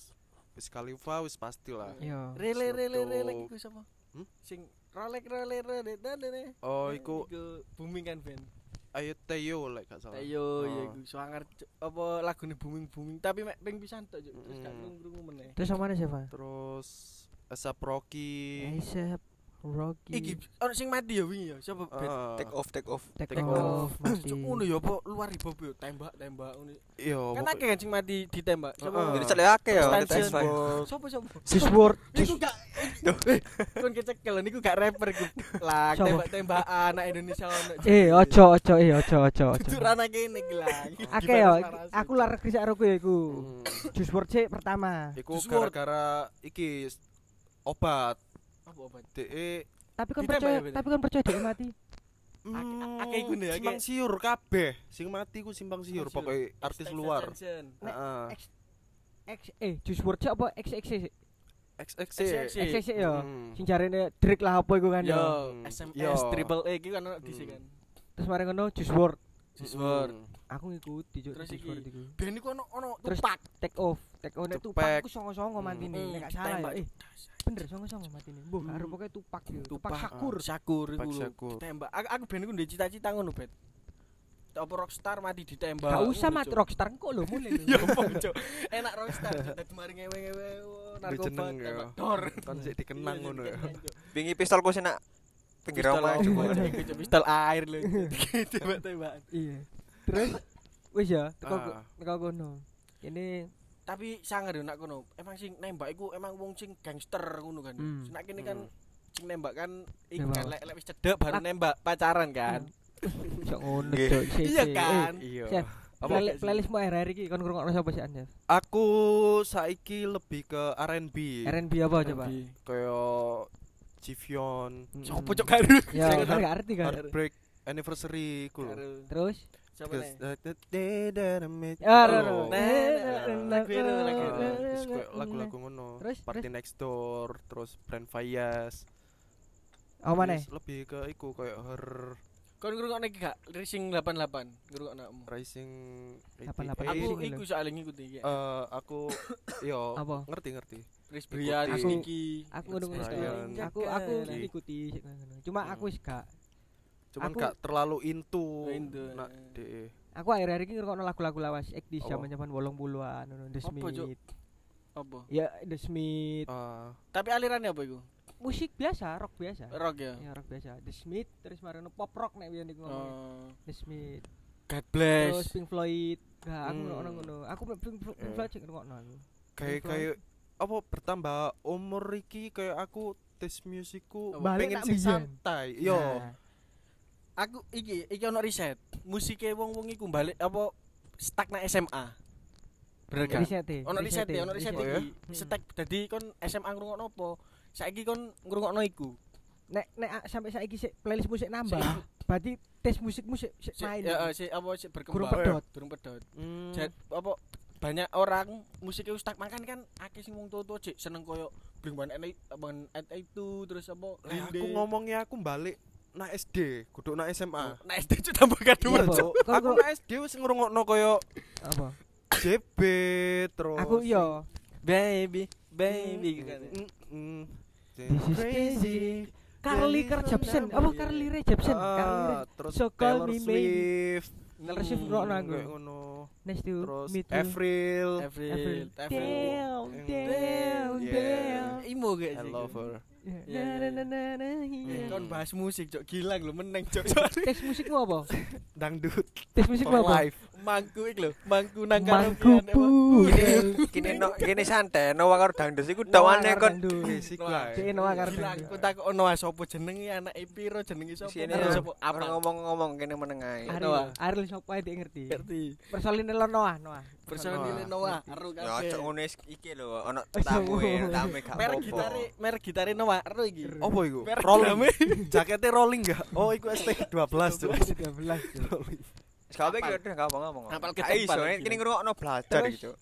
Speaker 2: Wiz Khalifa wis pasti lah.
Speaker 1: Iya.
Speaker 3: Rele
Speaker 2: Snoop
Speaker 3: rele rele
Speaker 2: Dogg.
Speaker 3: iku sapa?
Speaker 2: Hmm?
Speaker 3: Sing rolek rele rele dadane.
Speaker 2: Oh, iku
Speaker 3: booming kan band.
Speaker 2: Ayo Teo lek gak salah.
Speaker 3: Ayo ya
Speaker 2: Oh.
Speaker 3: iku suangar Cuk. apa lagune booming booming tapi mek ping pisan tok Cuk. terus gak
Speaker 2: Mm.
Speaker 3: krungu meneh.
Speaker 1: Terus sama mana sih Pak?
Speaker 2: Terus Asap Rocky.
Speaker 1: Asap Rocky.
Speaker 3: Iki ono sing mati ya wingi ya sapa band?
Speaker 2: Ah,
Speaker 4: Take off, take off.
Speaker 1: Take,
Speaker 2: Take
Speaker 1: off. Mati.
Speaker 3: (clears throat) Cuk ngono ya apa luar ibu yo tembak tembak ngono.
Speaker 2: Iya,
Speaker 3: Kan
Speaker 2: pokok-
Speaker 3: akeh kan sing mati ditembak. Sapa?
Speaker 2: Heeh.
Speaker 4: Oh, Jadi saya akeh ya,
Speaker 3: Expansion.
Speaker 4: X Five.
Speaker 3: Sapa sapa?
Speaker 1: This
Speaker 2: (laughs)
Speaker 1: word.
Speaker 3: Iku gak kon kecekel niku gak rapper iku. Lah
Speaker 1: Sapa?
Speaker 3: tembak-tembakan anak Indonesia ono. Cuk.
Speaker 1: Eh, ojo ojo eh ojo ojo ojo.
Speaker 3: Jujur anak ini gelang.
Speaker 1: Akeh ya, aku lar krisak roku ya
Speaker 3: Mm.
Speaker 1: iku.
Speaker 2: Hmm.
Speaker 1: Juice WRLD sih pertama.
Speaker 2: Iku
Speaker 3: Juice WRLD.
Speaker 2: gara-gara iki s- obat e,
Speaker 3: apa obat?
Speaker 2: DE
Speaker 1: Tapi kan
Speaker 3: Ditembak
Speaker 1: percaya,
Speaker 3: ya, Pak?
Speaker 1: tapi kan percaya dia mati.
Speaker 3: akeh iku nih, akeh.
Speaker 2: mm, simpang siur kabeh. Sing mati ku simpang siur
Speaker 3: Simpang
Speaker 2: pokoknya artis luar.
Speaker 1: Nek-
Speaker 2: Heeh.
Speaker 1: X (coughs) X eh Juice WRLD sih apa XX sih?
Speaker 2: XXC.
Speaker 3: Sih.
Speaker 1: XX sih ya.
Speaker 2: Hmm.
Speaker 1: Sing jarene Drake lah apa iku kan
Speaker 3: e.
Speaker 1: ya.
Speaker 3: Yo,
Speaker 2: Hmm. e. Yo.
Speaker 3: SMS triple E iki kan ono di sini kan.
Speaker 1: Terus mari ngono Juice WRLD.
Speaker 3: Jiswar.
Speaker 2: Hmm.
Speaker 1: Aku ngikuti Cuk,
Speaker 3: Terus
Speaker 1: Juice
Speaker 3: iki.
Speaker 1: WRLD iku.
Speaker 3: Ben iku ono ono
Speaker 1: Terus
Speaker 3: tupak.
Speaker 1: Take off, take off nek
Speaker 2: Tupac.
Speaker 1: Tupac iku songo-songo
Speaker 2: Hmm.
Speaker 1: mati nih,
Speaker 3: Hmm,
Speaker 1: nek gak salah
Speaker 3: ditembak.
Speaker 1: ya. Eh, bener songo-songo mati nih. Mbah,
Speaker 2: Hmm.
Speaker 1: karo pokoke Tupac yo.
Speaker 3: Tupac,
Speaker 1: Tupac Shakur.
Speaker 3: Syakur iku
Speaker 2: Pak
Speaker 3: lho.
Speaker 2: Syakur.
Speaker 3: Ditembak. Aku aku ben iku ndek cita-cita ngono, Bet. Apa rockstar mati ditembak.
Speaker 1: Gak usah mati
Speaker 3: ngono, Ah. Oh, Cuk.
Speaker 1: rockstar kok lho mule. lho.
Speaker 3: (laughs) Yo opo, Cuk. Enak rockstar, Cuk. dadi mari ngewe-ngewe oh, narkoba
Speaker 2: Jeneng, yo.
Speaker 3: tembak dor.
Speaker 2: Kan sik dikenang ngono ya.
Speaker 3: Dikenang, Cuk.
Speaker 4: Pingi pistolku sih nak pinggir
Speaker 3: Pistol
Speaker 4: omah
Speaker 3: apa,
Speaker 4: cuma.
Speaker 3: (laughs) Cuk, Cuk, pistol air lho. Cuk. Tembak-tembakan.
Speaker 1: Iya. Terus wis ya teko
Speaker 2: Ah.
Speaker 1: teko kono ini
Speaker 3: tapi sangar yo nak kono emang sing nembak iku emang wong sing gangster ngono kan
Speaker 1: Hmm.
Speaker 3: nak kene kan sing nembak kan iku
Speaker 1: Nembak.
Speaker 3: kan lek lek wis cedek
Speaker 1: Lah.
Speaker 3: baru nembak pacaran
Speaker 1: (laughs)
Speaker 3: kan
Speaker 1: iso ngono
Speaker 4: Nggih.
Speaker 1: cok sik,
Speaker 3: iya
Speaker 1: sik.
Speaker 3: kan
Speaker 2: Iya.
Speaker 1: Chef,
Speaker 2: Apa?
Speaker 1: eh, playlist playlistmu RR iki kon kan ngrungokno sapa sih Anjas
Speaker 2: Aku saiki lebih ke R&B.
Speaker 1: R&B apa coba
Speaker 2: Kaya Jivion,
Speaker 1: Mm-mm.
Speaker 3: Sopo cok garu?
Speaker 1: Hmm. ya kan
Speaker 2: Saya ngerti.
Speaker 1: gak ngerti kan
Speaker 2: Heartbreak Anniversary ku.
Speaker 3: Garu.
Speaker 1: terus
Speaker 3: Siapa
Speaker 2: Because
Speaker 3: nih?
Speaker 2: that- that day that I met you.
Speaker 1: ya
Speaker 2: Oh.
Speaker 1: ro ro
Speaker 3: Oh, Nah, nah, nah, nah,
Speaker 2: Ah,
Speaker 3: nah,
Speaker 2: terus kayak lagu-lagu ngono.
Speaker 1: Terus,
Speaker 2: Party Next Door, terus Brand Fayas.
Speaker 1: oh mana
Speaker 2: Terus lebih ke iku kayak Her
Speaker 3: Kon ngrungokno iki gak Racing 88 ngrungokno awakmu.
Speaker 2: Rising
Speaker 1: 88.
Speaker 2: eh,
Speaker 3: Aku
Speaker 1: Racing Oh,
Speaker 3: iku soalnya ngikuti iki.
Speaker 2: eh,
Speaker 1: (coughs)
Speaker 2: aku yo
Speaker 1: apa
Speaker 2: ngerti ngerti.
Speaker 3: Chris Brian,
Speaker 2: Aku-
Speaker 3: Niki.
Speaker 1: aku ngono
Speaker 2: Brian.
Speaker 1: ngono aku aku
Speaker 2: Brian.
Speaker 1: ngikuti sik ngono. kan. cuma
Speaker 3: Hmm.
Speaker 1: aku wis gak
Speaker 2: Cuman
Speaker 1: Aku- ya.
Speaker 2: gak terlalu into,
Speaker 3: Into,
Speaker 2: nak
Speaker 3: eh.
Speaker 2: de.
Speaker 1: aku akhir-akhir iki ngrungokno lagu-lagu lawas ekdis
Speaker 2: Apa?
Speaker 1: zaman-zaman 80-an ngono The
Speaker 3: Apa, Cuk?
Speaker 1: Smith
Speaker 3: apa?
Speaker 1: ya The Smith
Speaker 2: Ah,
Speaker 3: Tapi alirannya apa iku?
Speaker 1: musik biasa rock biasa
Speaker 3: Rock ya.
Speaker 1: ya rock biasa The Smith terus marano pop rock nek biyen iku ngomongnya.
Speaker 3: Oh.
Speaker 1: The Smith
Speaker 3: God
Speaker 1: terus
Speaker 3: bless.
Speaker 1: Pink Floyd nah aku
Speaker 2: Hmm.
Speaker 1: ngrungokno ngono aku Pink Pink- Pink
Speaker 2: Eh.
Speaker 1: Floyd sik ngrungokno aku
Speaker 2: kayak
Speaker 1: Influence.
Speaker 2: kayak apa bertambah umur iki kayak aku tes musikku
Speaker 3: Apa?
Speaker 1: Balik
Speaker 2: pengen
Speaker 1: nak
Speaker 2: sing
Speaker 1: biyen.
Speaker 2: santai yo
Speaker 1: Nah,
Speaker 3: Aku iki iki ono riset. Musike wong-wong iku balik apa stuck nang SMA. Bener gak?
Speaker 1: riset e
Speaker 3: Ono riset ya, ono riset
Speaker 2: riset.
Speaker 3: iki.
Speaker 1: Hmm.
Speaker 3: Stuck dadi kon SMA ngrungokno apa? Saiki kon ngrungokno iku.
Speaker 1: nek nek a- sampai saiki sik playlist musik nambah
Speaker 3: Sik-
Speaker 1: berarti tes musikmu sik sik
Speaker 3: Si,
Speaker 1: main
Speaker 3: ya, eh, si apa si
Speaker 1: Gurung
Speaker 3: berkembang.
Speaker 1: pedot.
Speaker 3: Durung pedot.
Speaker 2: Hmm.
Speaker 3: Jad- apa banyak orang musiknya ustak makan kan akeh sing wong tua-tua cek seneng koyo Blink One itu terus apa
Speaker 2: Lah, aku ngomongnya aku balik nak SD kudu nak
Speaker 1: Oh.
Speaker 2: SMA
Speaker 3: nah SD itu (laughs) tambah
Speaker 1: Iya,
Speaker 3: kedua
Speaker 1: Bo.
Speaker 3: cok
Speaker 1: Kon-
Speaker 2: aku
Speaker 1: kon-
Speaker 2: nak SD wis ngrungokno koyo
Speaker 1: apa
Speaker 2: JB terus
Speaker 1: aku yo
Speaker 3: baby
Speaker 2: baby
Speaker 3: gitu kan ya.
Speaker 1: This is crazy. Carly
Speaker 2: Carly
Speaker 1: Rae
Speaker 2: Rae
Speaker 1: apa
Speaker 2: Jepsen.
Speaker 1: Carly Rae Jepsen Carly Rae
Speaker 2: ah, terus
Speaker 1: So call
Speaker 2: Taylor
Speaker 1: me maybe. Taylor
Speaker 2: Swift
Speaker 1: Swift ngrungokno aku.
Speaker 2: kayak ngono
Speaker 1: next to
Speaker 2: terus
Speaker 1: me too
Speaker 2: Avril
Speaker 3: Avril Avril
Speaker 1: down
Speaker 2: Yang-
Speaker 1: down
Speaker 2: Yeah.
Speaker 1: down
Speaker 3: imo gak
Speaker 2: I
Speaker 3: sih
Speaker 2: love her
Speaker 1: Na,
Speaker 3: Ya, ya,
Speaker 1: na, na, na, na,
Speaker 2: Hmm.
Speaker 1: iya.
Speaker 3: kon bahas musik cok gilang lo meneng cok
Speaker 1: (laughs) tes musikmu apa
Speaker 2: dangdut
Speaker 1: tes musikmu
Speaker 2: for
Speaker 1: apa
Speaker 2: life
Speaker 3: mangku ik lo mangku nang
Speaker 1: mangku
Speaker 3: karaokean emang. (laughs)
Speaker 1: pudel
Speaker 4: Kini no, kini santai. No wakar dangdut iku dawane kon.
Speaker 2: basic
Speaker 3: Noah.
Speaker 2: lah
Speaker 1: Cek Noah karo
Speaker 3: Gilang
Speaker 1: dangdut.
Speaker 3: aku takut ono wae sopo jenenge anake piro jenenge sopo
Speaker 4: Sini
Speaker 3: karo
Speaker 1: Noah.
Speaker 3: sopo apa
Speaker 4: Orang ngomong-ngomong kini menengai.
Speaker 1: Ariel,
Speaker 3: Noah.
Speaker 1: Ariel sapa ae dek ngerti.
Speaker 3: ngerti
Speaker 1: Persolin lo Noah, Noah.
Speaker 3: personil
Speaker 2: Noah.
Speaker 3: Noah aru
Speaker 4: Ya
Speaker 3: kabeh.
Speaker 4: cok ngono is- iki lho, ono
Speaker 1: Ojo
Speaker 4: tamu
Speaker 1: ngono.
Speaker 4: e, tamu gak
Speaker 3: Oh, merek
Speaker 4: apa-apa.
Speaker 3: gitare merek gitare Noah aru iki Oh,
Speaker 2: apa iku
Speaker 3: Merek
Speaker 2: rolling
Speaker 3: drumnya.
Speaker 2: jaketnya
Speaker 3: (laughs)
Speaker 2: rolling gak oh iku ST 12 tuh
Speaker 1: 13. Cuk.
Speaker 4: Gak apa-apa, gak apa-apa ngomong.
Speaker 3: Apal
Speaker 4: Gak
Speaker 3: ketempat
Speaker 4: iso,
Speaker 3: lagi.
Speaker 4: kini ngrungokno belajar
Speaker 1: Terus?
Speaker 4: gitu.